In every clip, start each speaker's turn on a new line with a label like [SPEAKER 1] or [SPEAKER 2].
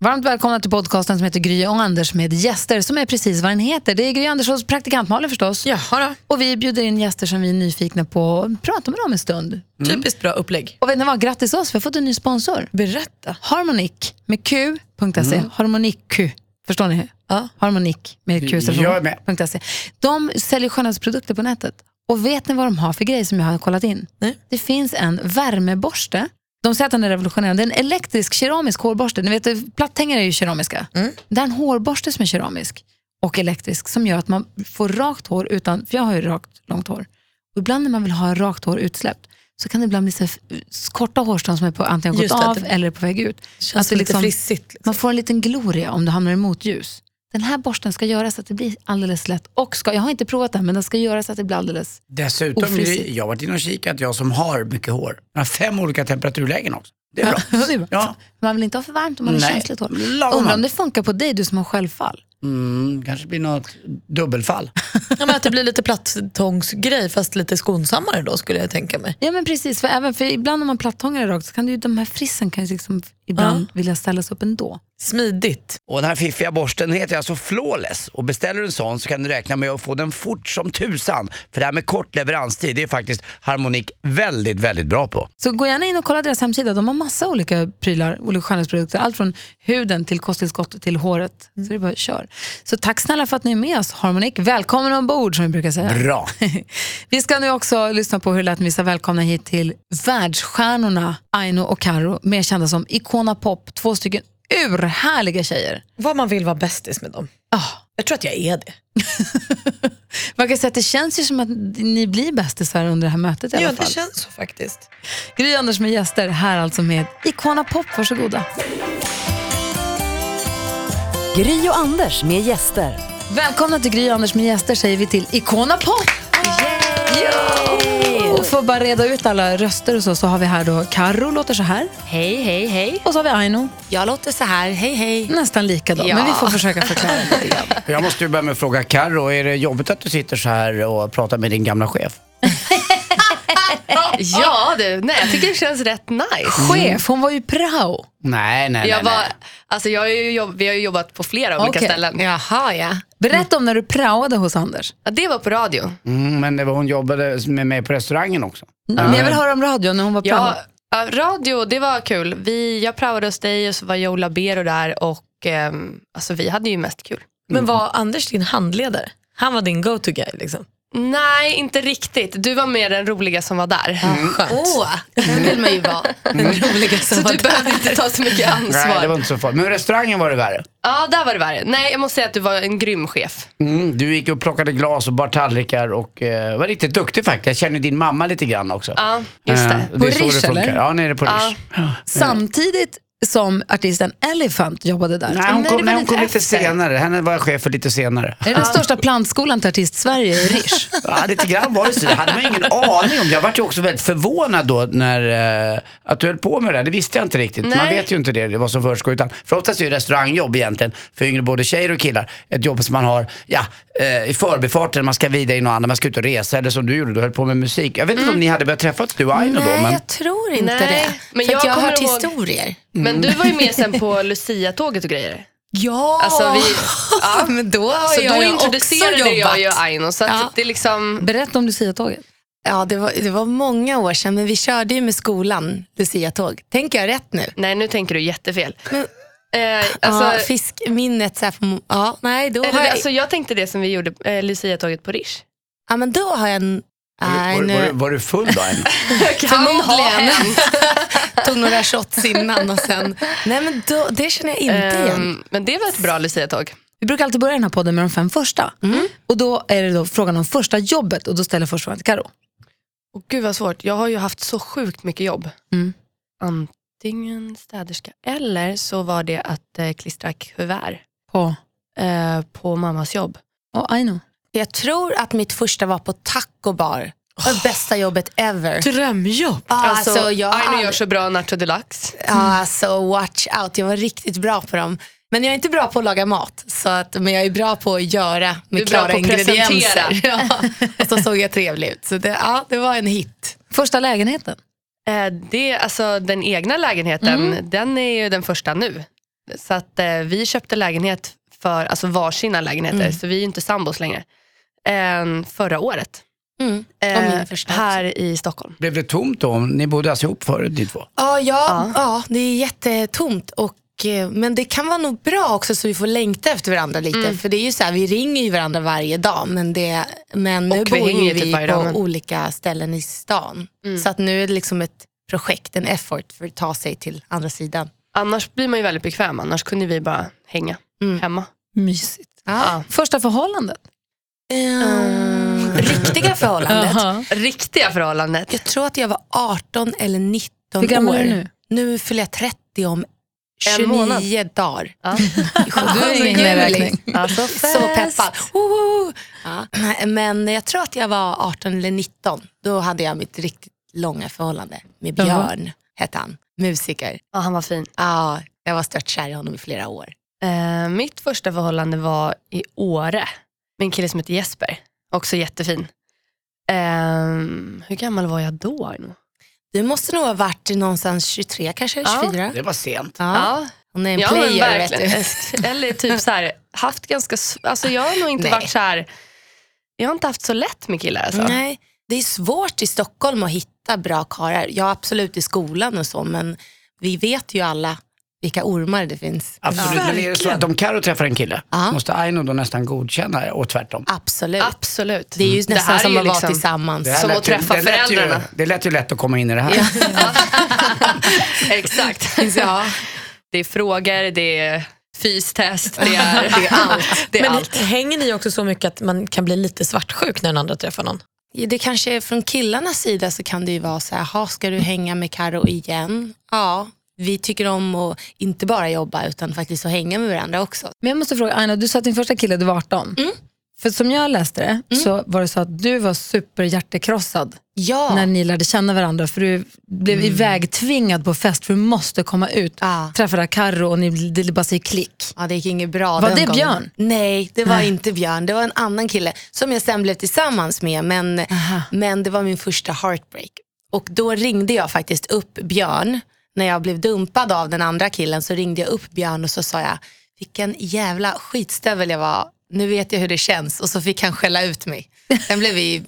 [SPEAKER 1] Varmt välkomna till podcasten som heter Gry och Anders med gäster som är precis vad den heter. Det är Gry Anderssons praktikant Malin förstås.
[SPEAKER 2] Jaha
[SPEAKER 1] Och vi bjuder in gäster som vi är nyfikna på och pratar med dem en stund.
[SPEAKER 2] då. Typiskt bra upplägg.
[SPEAKER 1] Och vet ni vad? Grattis oss, vi har fått en ny sponsor.
[SPEAKER 2] Berätta.
[SPEAKER 1] Harmonic med Q.se. Harmoniq. E. Förstår ni? Ja. Harmonic med Q.
[SPEAKER 3] Jag med.
[SPEAKER 1] punkt se. De säljer skönhetsprodukter på nätet. Och vet ni vad de har för grejer som jag har kollat in?
[SPEAKER 2] Nej.
[SPEAKER 1] Det finns en värmeborste. De säger att den är revolutionerande. Det är en elektrisk keramisk hårborste. Ni vet, platthängare är ju keramiska. Det är en hårborste som är keramisk och elektrisk som gör att man får rakt hår utan, för jag har ju rakt, långt hår. Och ibland när man vill ha rakt hår utsläppt så kan det ibland bli så här f- korta hårstrån som är på antingen gått
[SPEAKER 2] Just det,
[SPEAKER 1] av
[SPEAKER 2] att det-
[SPEAKER 1] eller är på väg ut.
[SPEAKER 2] Känns
[SPEAKER 1] Att det
[SPEAKER 2] lite frissigt. Liksom.
[SPEAKER 1] Man får en liten gloria om du hamnar i motljus. Den här borsten ska göra så att det blir alldeles lätt. Och ska, jag har inte provat den, men den ska göra så att det blir alldeles...
[SPEAKER 3] Dessutom,
[SPEAKER 1] Ofrisigt.
[SPEAKER 3] jag har varit inne och kikat, jag som har mycket hår. Jag har fem olika temperaturlägen också. Det är bra.
[SPEAKER 1] Det är bra.
[SPEAKER 3] Ja,
[SPEAKER 1] Man vill inte ha för varmt om man har
[SPEAKER 3] Nej,
[SPEAKER 1] känsligt hår.
[SPEAKER 3] lagom.
[SPEAKER 1] Undrar om det funkar på dig, du som har självfall.
[SPEAKER 3] mm, kanske blir något dubbelfall.
[SPEAKER 2] Ja, men att det blir lite plattångsgrej fast lite skonsammare då skulle jag tänka mig.
[SPEAKER 1] Ja men precis, för även för ibland om man plattångar rakt så kan det ju, de här frissen kan ju liksom ibland vilja ställas upp ändå.
[SPEAKER 2] Smidigt.
[SPEAKER 4] Och den här fiffiga borsten heter alltså Flawless och beställer du en sån så kan du räkna med att få den fort som tusan. För det här med kort leveranstid det är faktiskt Harmonic väldigt, väldigt bra på.
[SPEAKER 1] Så gå gärna in och kolla deras hemsida. De har massa olika prylar, olika skönhetsprodukter. Allt från huden till kosttillskott till håret.
[SPEAKER 2] Mm.
[SPEAKER 1] Så det är bara att kör. Så tack snälla för att ni är med oss, Harmonic. Välkommen ombord som vi brukar säga.
[SPEAKER 4] Bra!
[SPEAKER 1] Vi ska nu också lyssna på hur det lät när vi sa välkomna hit till världsstjärnorna Aino och Karo, mer kända som Icona Pop. Två stycken urhärliga tjejer.
[SPEAKER 2] Vad man vill vara bästis med dem.
[SPEAKER 1] Ah.
[SPEAKER 2] Jag tror att jag är det.
[SPEAKER 1] Man kan säga att det känns ju som att ni blir bästisar under det här mötet i alla
[SPEAKER 2] Ja,
[SPEAKER 1] fall.
[SPEAKER 2] det känns så faktiskt.
[SPEAKER 1] Gry Anders med gäster, här alltså med Icona Pop. Varsågoda.
[SPEAKER 5] Gry och Anders med gäster.
[SPEAKER 1] Välkomna till Gry och Anders med gäster säger vi till Icona Pop. Ja! Och för att bara reda ut alla röster och så, så har vi här då Karo låter så här.
[SPEAKER 6] Hej, hej, hej.
[SPEAKER 1] Och så har vi Aino,
[SPEAKER 6] Jag låter så här. Hej, hej.
[SPEAKER 1] nästan likadan.
[SPEAKER 6] Ja.
[SPEAKER 1] Men vi får försöka förklara lite grann.
[SPEAKER 3] Jag måste ju börja med att fråga Carro, är det jobbigt att du sitter så här och pratar med din gamla chef?
[SPEAKER 6] Ja, du. Nej, jag tycker det känns rätt nice.
[SPEAKER 1] Chef, hon var ju prao.
[SPEAKER 3] Nej, nej,
[SPEAKER 6] Jag
[SPEAKER 3] nej.
[SPEAKER 6] var,
[SPEAKER 3] nej.
[SPEAKER 6] alltså jag har ju jobb, vi har ju jobbat på flera olika
[SPEAKER 1] Okej.
[SPEAKER 6] ställen. Jaha, ja.
[SPEAKER 1] Berätta om när du praoade hos Anders.
[SPEAKER 6] ja. Det var på radio.
[SPEAKER 3] Mm, men det var, hon jobbade med mig på restaurangen också.
[SPEAKER 1] Men jag vill höra om radion när hon var prao.
[SPEAKER 6] Ja, ja, radio, det var kul. Vi, jag praoade hos dig och så var Joe Labero där och ehm, alltså vi hade ju mest kul.
[SPEAKER 2] Men var Anders din handledare? Han var din go-to guy liksom.
[SPEAKER 6] Nej, inte riktigt. Du var mer den roliga som var där.
[SPEAKER 2] Skönt.
[SPEAKER 6] Åh, den vill man ju vara.
[SPEAKER 1] Mm.
[SPEAKER 2] Den roliga som
[SPEAKER 6] Så
[SPEAKER 2] Mm. var
[SPEAKER 6] du
[SPEAKER 2] där.
[SPEAKER 6] behöver inte ta så mycket ansvar.
[SPEAKER 3] Nej, det var inte så farligt. Men restaurangen var det värre.
[SPEAKER 6] Ja, där var det värre. Nej, jag måste säga att du var en grym chef.
[SPEAKER 3] Mm, du gick och plockade glas och bar tallrikar och eh, var riktigt duktig faktiskt. Jag känner din mamma lite grann också.
[SPEAKER 6] Ja, just det.
[SPEAKER 3] Eh,
[SPEAKER 1] På
[SPEAKER 3] är så
[SPEAKER 1] Riche,
[SPEAKER 3] det funkar.
[SPEAKER 1] eller?
[SPEAKER 3] Ja, nere på Riche.
[SPEAKER 1] Samtidigt som artisten Elephant jobbade där.
[SPEAKER 3] Nej, hon
[SPEAKER 6] Nej, det
[SPEAKER 3] kom, nej,
[SPEAKER 6] var
[SPEAKER 3] hon kom
[SPEAKER 6] lite
[SPEAKER 3] lite
[SPEAKER 6] efter.
[SPEAKER 3] senare. Henne var jag chef för lite senare.
[SPEAKER 1] Det är den största plantskolan till artist-Sverige, i Rish.
[SPEAKER 3] Ja, lite grann var det så. Det hade man ju ingen aning om. Jag var ju också väldigt förvånad då när, eh, att du höll på med det där. Det visste jag inte riktigt. Man
[SPEAKER 6] Nej.
[SPEAKER 3] vet ju inte det, det vad som försiggår. Utan, för oftast är ju restaurangjobb egentligen, för yngre både tjejer och killar, ett jobb som man har ja, eh, i förbifarten. Man ska vidare i något annat, man ska ut och resa. Eller som du gjorde, du höll på med musik. Jag vet
[SPEAKER 7] Mm.
[SPEAKER 3] inte om ni hade börjat träffas du och Aino då. Men...
[SPEAKER 2] tror
[SPEAKER 6] inte det.
[SPEAKER 2] Men
[SPEAKER 6] För
[SPEAKER 2] jag,
[SPEAKER 6] att jag har
[SPEAKER 2] har hört
[SPEAKER 6] hört
[SPEAKER 2] historier.
[SPEAKER 6] Men du var ju med sen på Lucia-tåget och grejer.
[SPEAKER 2] Ja,
[SPEAKER 6] Alltså, vi, ja.
[SPEAKER 2] men då har
[SPEAKER 6] Så
[SPEAKER 2] jag
[SPEAKER 6] då
[SPEAKER 2] ju
[SPEAKER 6] introducerade
[SPEAKER 2] också
[SPEAKER 6] jag ju
[SPEAKER 2] jobbat.
[SPEAKER 6] Aino. Så att
[SPEAKER 2] Ja.
[SPEAKER 6] det är liksom,
[SPEAKER 1] Berätta om Lucia-tåget.
[SPEAKER 7] Ja, det var, det var många år sedan, men vi körde ju med skolan Lucia-tåg. Tänker jag rätt nu?
[SPEAKER 6] nej nu tänker du jättefel.
[SPEAKER 7] Men-
[SPEAKER 6] Eh,
[SPEAKER 7] Alltså, ja,
[SPEAKER 6] alltså,
[SPEAKER 7] fiskminnet så här från, ja, nej, då har
[SPEAKER 6] eller,
[SPEAKER 7] jag,
[SPEAKER 6] alltså, jag tänkte det som vi gjorde, eh, Lucia-tåget på Rish.
[SPEAKER 7] ja, men då har jag en, nej,
[SPEAKER 3] Var, var, var,
[SPEAKER 7] nu
[SPEAKER 3] var du full då Aino?
[SPEAKER 7] Förmodligen. tog några shots innan och sen, nej men då, det känner jag inte
[SPEAKER 2] Eh.
[SPEAKER 7] igen.
[SPEAKER 6] Ehm, men det var ett bra Lucia-tåg.
[SPEAKER 1] Vi brukar alltid börja den här podden med de fem första.
[SPEAKER 7] Mm.
[SPEAKER 1] Och Då är det då frågan om första jobbet och då ställer jag först frågan till Karo.
[SPEAKER 6] Och gud vad svårt, jag har ju haft så sjukt mycket jobb.
[SPEAKER 7] Mm.
[SPEAKER 6] Antingen städerska eller så var det att eh, klistra kuvert
[SPEAKER 1] På.
[SPEAKER 6] eh, på mammas jobb.
[SPEAKER 1] Och Aino.
[SPEAKER 7] Jag tror att mitt första var på taco bar Det bästa jobbet ever.
[SPEAKER 2] Drömjobb.
[SPEAKER 7] Ah,
[SPEAKER 6] Alltså,
[SPEAKER 7] alltså, jag, har
[SPEAKER 6] Aino
[SPEAKER 7] aldrig-
[SPEAKER 6] gör så bra nacho deluxe.
[SPEAKER 7] Ja, Alltså watch out, jag var riktigt bra på dem. Men jag är inte bra på att laga mat, så att, men jag är bra på att göra
[SPEAKER 6] Du är
[SPEAKER 7] med
[SPEAKER 6] bra
[SPEAKER 7] klara
[SPEAKER 6] på att
[SPEAKER 7] ingredienser. Ja. Och så såg jag trevlig ut. Så det, ja, det var en hit.
[SPEAKER 1] Första lägenheten.
[SPEAKER 6] Eh, Det, alltså, den egna lägenheten,
[SPEAKER 7] Mm.
[SPEAKER 6] den är ju den första nu. Så att eh, vi köpte lägenhet för, alltså varsina lägenheter,
[SPEAKER 7] Mm.
[SPEAKER 6] så vi är ju inte sambos längre. Eh, förra året.
[SPEAKER 7] Mm.
[SPEAKER 6] Eh,
[SPEAKER 7] min första också.
[SPEAKER 6] här i Stockholm.
[SPEAKER 4] Blev det tomt då? Ni bodde alltså ihop förut ni två?
[SPEAKER 7] Ja, ja, ja, det är jättetomt. Och, eh, men det kan vara nog bra också så vi får längta efter varandra lite.
[SPEAKER 6] Mm.
[SPEAKER 7] För det är ju så här, vi ringer ju varandra varje dag. Men, det, men nu
[SPEAKER 6] Och vi
[SPEAKER 7] bor
[SPEAKER 6] hänger
[SPEAKER 7] ju
[SPEAKER 6] ju typ
[SPEAKER 7] vi
[SPEAKER 6] varje dag,
[SPEAKER 7] på
[SPEAKER 6] men- Mm.
[SPEAKER 7] olika ställen i stan. Så att nu är det liksom ett projekt, en effort för att ta sig till andra sidan.
[SPEAKER 6] Annars blir man ju väldigt bekväm, annars kunde vi bara hänga
[SPEAKER 7] Mm.
[SPEAKER 6] hemma.
[SPEAKER 1] Mysigt.
[SPEAKER 7] Ja.
[SPEAKER 1] Första förhållandet.
[SPEAKER 2] Eh. Mm.
[SPEAKER 7] Ehm, riktiga förhållandet.
[SPEAKER 6] Riktiga förhållandet.
[SPEAKER 7] Jag tror att jag var 18 eller 19
[SPEAKER 1] Hur gammal
[SPEAKER 7] år.
[SPEAKER 1] är du nu?
[SPEAKER 7] Nu fyller jag 30 om
[SPEAKER 6] En
[SPEAKER 7] 29 dagar.
[SPEAKER 6] Ja.
[SPEAKER 1] Du är ingen
[SPEAKER 7] Gulligt.
[SPEAKER 1] räkning.
[SPEAKER 6] Alltså,
[SPEAKER 7] Så peppad. Woho! Ja. Men jag tror att jag var 18 eller 19. Då hade jag mitt riktigt långa förhållande med Björn, hette han. Musiker.
[SPEAKER 6] ja, han var fin.
[SPEAKER 7] Ja, jag var störtkär i honom i flera år.
[SPEAKER 6] Eh, mitt första förhållande var i Åre. Med en kille som heter Jesper. Också jättefin. Ehm, hur gammal var jag då? Aino?
[SPEAKER 7] Du måste nog ha varit någonstans 23, kanske
[SPEAKER 6] Ja.
[SPEAKER 7] 24.
[SPEAKER 4] Det var sent.
[SPEAKER 7] Ja.
[SPEAKER 6] Ja,
[SPEAKER 7] Hon är en
[SPEAKER 6] ja men
[SPEAKER 7] player, vet du.
[SPEAKER 6] verkligen. Eller typ så här, haft ganska, s- alltså jag har nog inte
[SPEAKER 7] Nej.
[SPEAKER 6] varit så här, jag har inte haft så lätt med killar alltså.
[SPEAKER 7] Nej, det är svårt i Stockholm att hitta bra karlar. Ja, absolut i skolan och så, men vi vet ju alla vilka ormar det finns.
[SPEAKER 4] Absolut, men är det så att om Karo träffar en kille,
[SPEAKER 7] Ja.
[SPEAKER 4] måste Aino då nästan godkänna det och tvärtom?
[SPEAKER 7] Absolut.
[SPEAKER 6] Absolut.
[SPEAKER 7] Det är ju
[SPEAKER 6] Det
[SPEAKER 7] nästan
[SPEAKER 6] här är
[SPEAKER 7] som
[SPEAKER 6] ju
[SPEAKER 7] att vara
[SPEAKER 6] liksom-
[SPEAKER 7] tillsammans.
[SPEAKER 4] Det här
[SPEAKER 6] Som
[SPEAKER 4] lät
[SPEAKER 6] att
[SPEAKER 4] ju-
[SPEAKER 6] träffa
[SPEAKER 4] det lät ju-
[SPEAKER 6] föräldrarna.
[SPEAKER 4] Det lät ju lätt att komma in i det här.
[SPEAKER 6] Exakt.
[SPEAKER 7] Ja.
[SPEAKER 6] Det är frågor, det är fystest, det är, det är allt. Det är
[SPEAKER 2] Men
[SPEAKER 6] allt.
[SPEAKER 2] hänger ni också så mycket att man kan bli lite svartsjuk när den andra träffar någon?
[SPEAKER 7] Ja, Det kanske är från killarnas sida så kan det ju vara så här, "Jaha, ska du hänga med Karo igen? Ja, vi tycker om att inte bara jobba utan faktiskt att hänga med varandra också.
[SPEAKER 1] Men jag måste fråga, Aina, du sa att din första kille du var 18.
[SPEAKER 7] Mm.
[SPEAKER 1] För som jag läste det så var det så att du var superhjärtekrossad
[SPEAKER 7] Ja, Mm.
[SPEAKER 1] när ni lärde känna varandra för du blev ivägtvingad på fest för du måste komma ut.
[SPEAKER 7] Ah.
[SPEAKER 1] Träffade Carro och ni det bara säger klick.
[SPEAKER 7] ja det gick inget bra.
[SPEAKER 1] Var
[SPEAKER 7] den
[SPEAKER 1] det
[SPEAKER 7] gången.
[SPEAKER 1] Björn?
[SPEAKER 7] Nej, det var inte Björn. Det var en annan kille som jag sen blev tillsammans med. Men, men det var min första heartbreak. Och då ringde jag faktiskt upp Björn. När jag blev dumpad av den andra killen så ringde jag upp Björn och så sa jag, vilken jävla skitstövel jag var. Nu vet jag hur det känns. Och så fick han skälla ut mig. Sen blev vi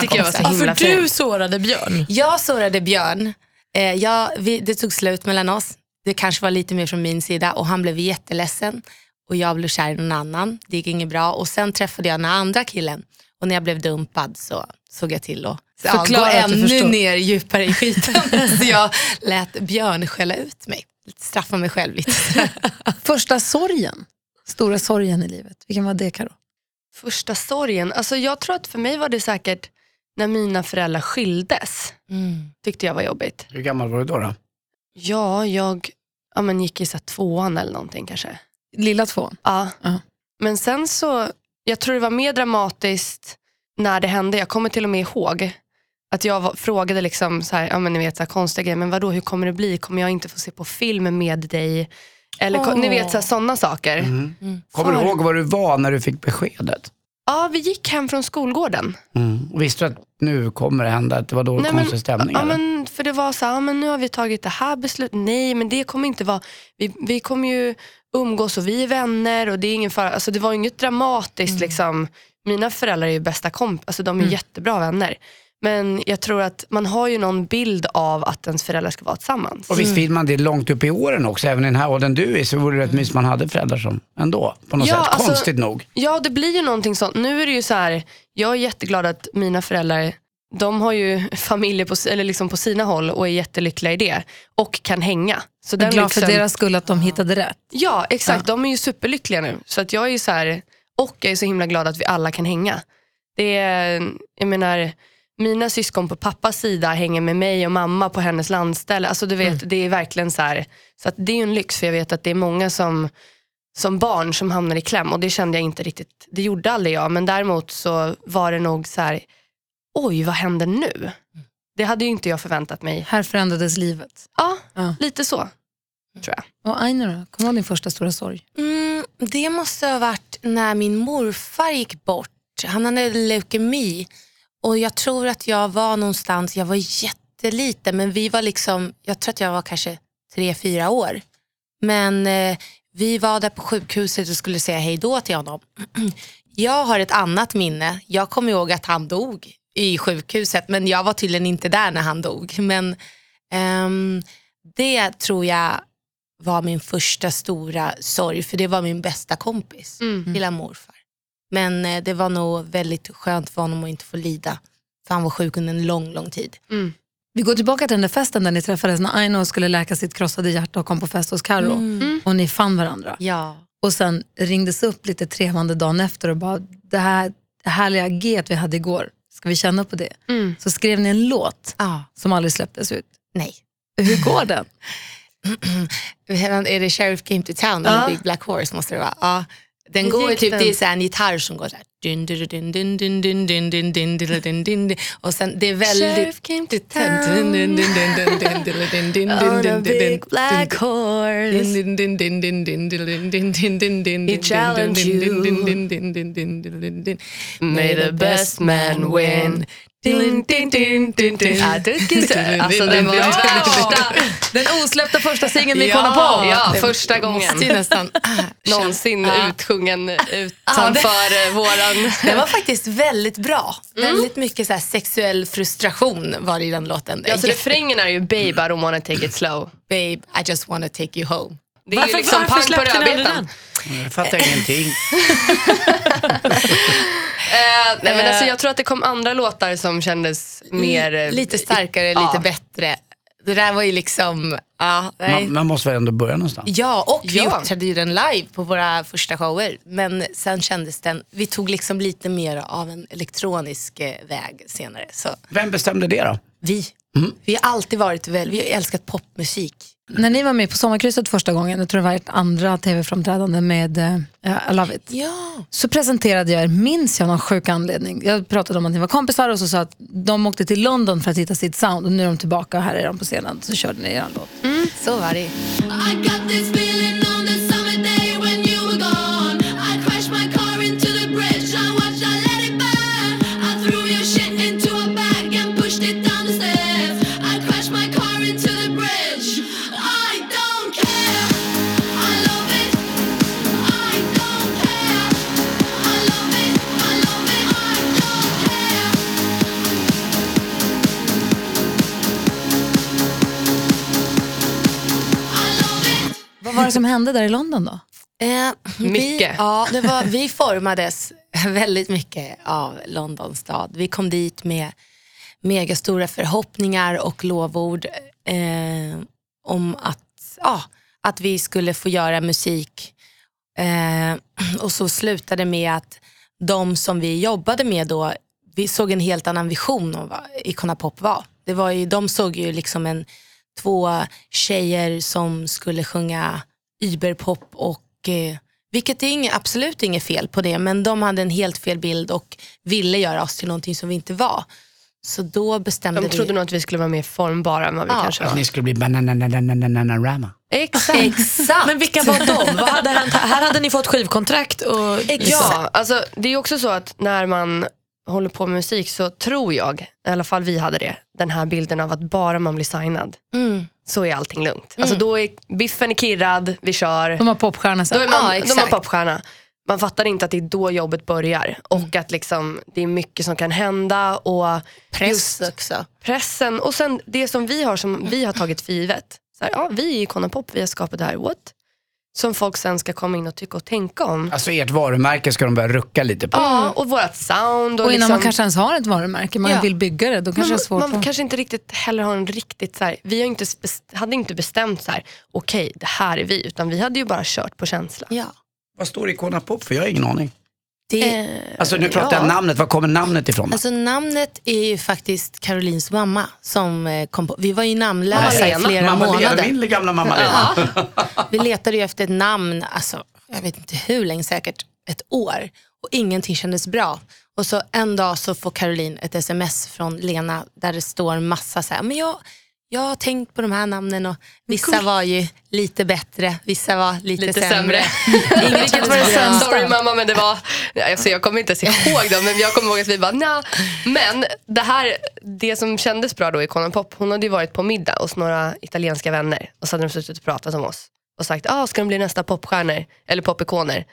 [SPEAKER 6] Tycker jag var så
[SPEAKER 7] kompisar.
[SPEAKER 6] himla
[SPEAKER 1] Alltså,
[SPEAKER 2] för du sårade Björn.
[SPEAKER 7] Jag sårade Björn. Eh, jag, vi, det tog slut mellan oss. Det kanske var lite mer från min sida och han blev jätteledsen. Och jag blev kär i någon annan. Det gick inget bra. Och sen träffade jag den andra killen. Och när jag blev dumpad så såg jag till att ja, gå
[SPEAKER 1] Förklara att du
[SPEAKER 7] ännu
[SPEAKER 1] förstår.
[SPEAKER 7] ner djupare i skiten. så jag lät Björn skälla ut mig. Straffa mig själv lite.
[SPEAKER 1] Första sorgen, stora sorgen i livet, vilken var det Carro?
[SPEAKER 6] Första sorgen, alltså jag tror att för mig var det säkert när mina föräldrar skildes. Tyckte jag var jobbigt.
[SPEAKER 4] Hur gammal var du då? då?
[SPEAKER 6] Ja, jag ja, men gick i så här tvåan eller någonting kanske.
[SPEAKER 1] Lilla tvåan.
[SPEAKER 6] Ja.
[SPEAKER 1] Ja.
[SPEAKER 6] Men sen så, jag tror det var mer dramatiskt när det hände. Jag kommer till och med ihåg att jag var, frågade liksom så här, ja, men ni vet, så här konstiga grejer, men vadå, hur kommer det bli? Kommer jag inte få se på film med dig? Eller ko- ni vet sådana saker.
[SPEAKER 4] Kommer du
[SPEAKER 6] Far.
[SPEAKER 4] ihåg var du var när du fick beskedet?
[SPEAKER 6] Ja, vi gick hem från skolgården.
[SPEAKER 4] Och Visste du att nu kommer det hända, att det var då
[SPEAKER 6] Nej, men-
[SPEAKER 4] konstig stämning?
[SPEAKER 6] Ja,
[SPEAKER 4] eller?
[SPEAKER 6] men, för det var så här, ja, men nu har vi tagit det här beslutet. Nej, men det kommer inte vara, vi, vi kommer ju umgås och vi är vänner och det är ingen fara. Alltså, det var ju inget dramatiskt
[SPEAKER 1] Mm.
[SPEAKER 6] liksom. Mina föräldrar är ju bästa komp, alltså de är jättebra vänner. Men jag tror att man har ju någon bild av att ens föräldrar ska vara tillsammans.
[SPEAKER 4] Och visst vill man det långt upp i åren också, även i den här åldern du är så vore det rätt mysigt man hade föräldrar som ändå, på något
[SPEAKER 6] Ja,
[SPEAKER 4] sätt.
[SPEAKER 6] alltså-
[SPEAKER 4] Konstigt nog.
[SPEAKER 6] Ja, det blir ju någonting sånt. Nu är det ju så här, jag är jätteglad att mina föräldrar, de har ju familjer på, eller liksom på sina håll och är jättelyckliga i det. Och kan hänga. Så den
[SPEAKER 1] Glad för
[SPEAKER 6] lyxen-
[SPEAKER 1] deras skull att de hittade rätt.
[SPEAKER 6] Ja, exakt. De är ju superlyckliga nu. Så att jag är ju så här, och jag är så himla glad att vi alla kan hänga. Det är, jag menar, mina syskon på pappas sida hänger med mig och mamma på hennes landställe. Alltså du vet,
[SPEAKER 1] Mm.
[SPEAKER 6] det är verkligen så här. Så att det är ju en lyx för jag vet att det är många som, som barn som hamnar i kläm och det kände jag inte riktigt, det gjorde aldrig jag. Men däremot så var det nog så här, oj vad händer
[SPEAKER 1] Mm.
[SPEAKER 6] nu? Det hade ju inte jag förväntat mig.
[SPEAKER 1] Här förändrades livet.
[SPEAKER 6] Ja,
[SPEAKER 1] Ja.
[SPEAKER 6] lite så tror jag.
[SPEAKER 1] Och Aina då? Kommer du ihåg din första stora sorg?
[SPEAKER 7] Mm, det måste ha varit när min morfar gick bort. Han hade leukemi och jag tror att jag var någonstans, jag var jätteliten men vi var liksom, jag tror att jag var kanske tre, fyra år. Men eh, vi var där på sjukhuset och skulle säga hej då till honom. Jag har ett annat minne. Jag kommer ihåg att han dog i sjukhuset men jag var tydligen inte där när han dog. Men ehm, det tror jag var min första stora sorg, för det var min bästa kompis, lilla morfar. Men eh, det var nog väldigt skönt för honom att inte få lida, för han var sjuk under en lång, lång tid.
[SPEAKER 1] Vi går tillbaka till den där festen där ni träffades när Aino skulle läka sitt krossade hjärta och kom på fest hos Karo. Och ni fann varandra.
[SPEAKER 7] Ja.
[SPEAKER 1] Och sen ringdes upp lite trevande dagen efter och bara, det här härliga get vi hade igår, ska vi känna på det? Så skrev ni en låt
[SPEAKER 7] Ah,
[SPEAKER 1] som aldrig släpptes ut.
[SPEAKER 7] nej.
[SPEAKER 1] Hur går den?
[SPEAKER 7] Är det Sheriff Came to Town eller Big Black Horse måste det vara. Ja. Den går ju
[SPEAKER 1] gick
[SPEAKER 7] typ,
[SPEAKER 1] den?
[SPEAKER 7] det är så här en gitarr som går så här. Dun, dun, dun, dun, dun, dun, dun, dun, dun, dun, dun, dun, dun. Och sen det är väldigt...
[SPEAKER 6] came to
[SPEAKER 2] On a big black
[SPEAKER 7] Sheriff
[SPEAKER 2] horse.
[SPEAKER 7] He
[SPEAKER 2] challenged you.
[SPEAKER 6] May the best man win. Din, din, din, din, din.
[SPEAKER 7] Ja, du kan- Alltså den var
[SPEAKER 6] Ja!
[SPEAKER 7] den första,
[SPEAKER 1] Den osläppta första singeln ni kollade på.
[SPEAKER 6] Ja, första gången
[SPEAKER 7] måste ju nästan
[SPEAKER 6] någonsin utsjungen utanför eh, våran...
[SPEAKER 7] Den var faktiskt väldigt bra. Väldigt mycket så här sexuell frustration var det i den låten.
[SPEAKER 6] Alltså refrängen är ju “Babe, I don't wanna take it slow”.
[SPEAKER 7] Babe, I just wanna take you home.
[SPEAKER 6] Det är ju liksom
[SPEAKER 1] varför
[SPEAKER 6] pang på
[SPEAKER 1] släppte ni aldrig
[SPEAKER 6] rödbetan.
[SPEAKER 1] den?
[SPEAKER 4] Jag fattar ingenting.
[SPEAKER 6] Eh, nej, men alltså, jag tror att det kom andra låtar som kändes mer... eh,
[SPEAKER 7] Mm. lite starkare,
[SPEAKER 6] ja.
[SPEAKER 7] lite bättre. Det där var ju liksom... Ja, nej.
[SPEAKER 4] Man, man måste väl ändå börja någonstans.
[SPEAKER 7] ja och vi
[SPEAKER 6] Ja.
[SPEAKER 7] uppträdde ju den live på våra första shower. Men sen kändes den... Vi tog liksom lite mer av en elektronisk eh, väg senare. Så
[SPEAKER 4] Vem bestämde det då?
[SPEAKER 7] vi, vi har alltid varit väl... Vi har älskat popmusik.
[SPEAKER 1] När ni var med på sommarkrysset första gången, jag tror det var ert andra tv-framträdande med eh, I Love It.
[SPEAKER 7] Ja.
[SPEAKER 1] så presenterade jag er, minns jag av någon sjuk anledning. Jag pratade om att ni var kompisar och så sa att de åkte till London för att hitta sitt sound och nu är de tillbaka och här är de på scenen. Så körde ni er låt.
[SPEAKER 7] Så var det
[SPEAKER 8] I got this feeling on the summer day when you were gone. I crashed my car into the bridge. I watched, I let it burn. I threw your shit into a bag and pushed it down the stairs. I crashed my car into the bridge. I don't care. I love it. I don't care. I love it. I love it. I don't care. I love it.
[SPEAKER 1] Vad var det som hände där i London då?
[SPEAKER 7] Eh, Vi,
[SPEAKER 6] Mycket.
[SPEAKER 7] ja, det var, vi formades väldigt mycket av Londons stad. Vi kom dit med megastora förhoppningar och lovord eh, om att, ja, att vi skulle få göra musik. Eh, och så slutade det med att de som vi jobbade med då, vi såg en helt annan vision om vad Icona Pop var. Det var ju, de såg ju liksom en, två tjejer som skulle sjunga überpop och eh, vilket är inget, absolut inget fel på det, men de hade en helt fel bild och ville göra oss till någonting som vi inte var. Så då bestämde
[SPEAKER 6] De trodde
[SPEAKER 7] vi...
[SPEAKER 6] nog att vi skulle vara mer formbara än vad vi
[SPEAKER 7] Ja.
[SPEAKER 6] kanske
[SPEAKER 4] Att
[SPEAKER 6] var.
[SPEAKER 4] ni skulle bli banananananananarama.
[SPEAKER 6] Exakt.
[SPEAKER 7] Exakt!
[SPEAKER 2] Men vilka var de? Vad hade hänt? Här hade ni fått skivkontrakt. Och...
[SPEAKER 6] Ja, alltså, det är också så att när man håller på med musik så tror jag, i alla fall vi hade det, den här bilden av att bara man blir signad
[SPEAKER 7] Mm.
[SPEAKER 6] så är allting lugnt. Alltså då är biffen är kirrad, vi kör.
[SPEAKER 1] De var popstjärna
[SPEAKER 6] Då är
[SPEAKER 1] sen.
[SPEAKER 6] man,
[SPEAKER 7] Ja,
[SPEAKER 6] då är man
[SPEAKER 7] exakt.
[SPEAKER 6] popstjärna. Man fattar inte att det är då jobbet börjar och
[SPEAKER 1] Mm.
[SPEAKER 6] att liksom, det är mycket som kan hända. Och
[SPEAKER 7] Press också.
[SPEAKER 6] pressen och sen det som vi har som vi har tagit för givet. Så här, ja, vi är Icona Pop, vi har skapat det här, what? Som folk sen ska komma in och tycka och tänka om.
[SPEAKER 4] Alltså ert varumärke ska de börja rucka lite på.
[SPEAKER 6] Ja, och vårt sound. Och,
[SPEAKER 1] Och innan
[SPEAKER 6] liksom,
[SPEAKER 1] man kanske ens har ett varumärke, man
[SPEAKER 7] Ja.
[SPEAKER 1] vill bygga det, då kanske det är svårt.
[SPEAKER 6] man, man
[SPEAKER 1] att-
[SPEAKER 6] kanske inte riktigt heller har en riktigt så här, vi har inte, bes- hade inte bestämt så här, okej det här är vi, utan vi hade ju bara kört på känsla.
[SPEAKER 7] Ja.
[SPEAKER 4] Vad står Icona Pop för? Jag har ingen aning.
[SPEAKER 7] Det,
[SPEAKER 2] Eh,
[SPEAKER 4] Alltså nu pratar jag namnet, var kommer namnet ifrån?
[SPEAKER 7] Alltså namnet är ju faktiskt Carolins mamma som eh, kom på. Vi var ju namnlösa i
[SPEAKER 6] Mamma Lena.
[SPEAKER 7] flera
[SPEAKER 4] mamma Lena,
[SPEAKER 7] månader.
[SPEAKER 4] min gamla mamma Lena.
[SPEAKER 7] Vi letade ju efter ett namn, alltså, jag vet inte hur länge, säkert ett år. Och ingenting kändes bra. Och så en dag så får Caroline ett sms från Lena där det står massa så här, men jag, jag har tänkt på de här namnen och vissa var ju lite bättre, vissa var lite,
[SPEAKER 6] Lite
[SPEAKER 7] sämre.
[SPEAKER 6] sämre.
[SPEAKER 7] Vilket var det
[SPEAKER 6] Ja.
[SPEAKER 7] sämsta?
[SPEAKER 6] Sorry mamma men det var, alltså, jag kommer inte ens ihåg dem men jag kommer ihåg att vi bara nja. Men det här, det som kändes bra då i Konan Pop, hon hade ju varit på middag hos några italienska vänner och så hade de suttit och pratat om oss och sagt, ah, ska de bli nästa popstjärnor eller popikoner?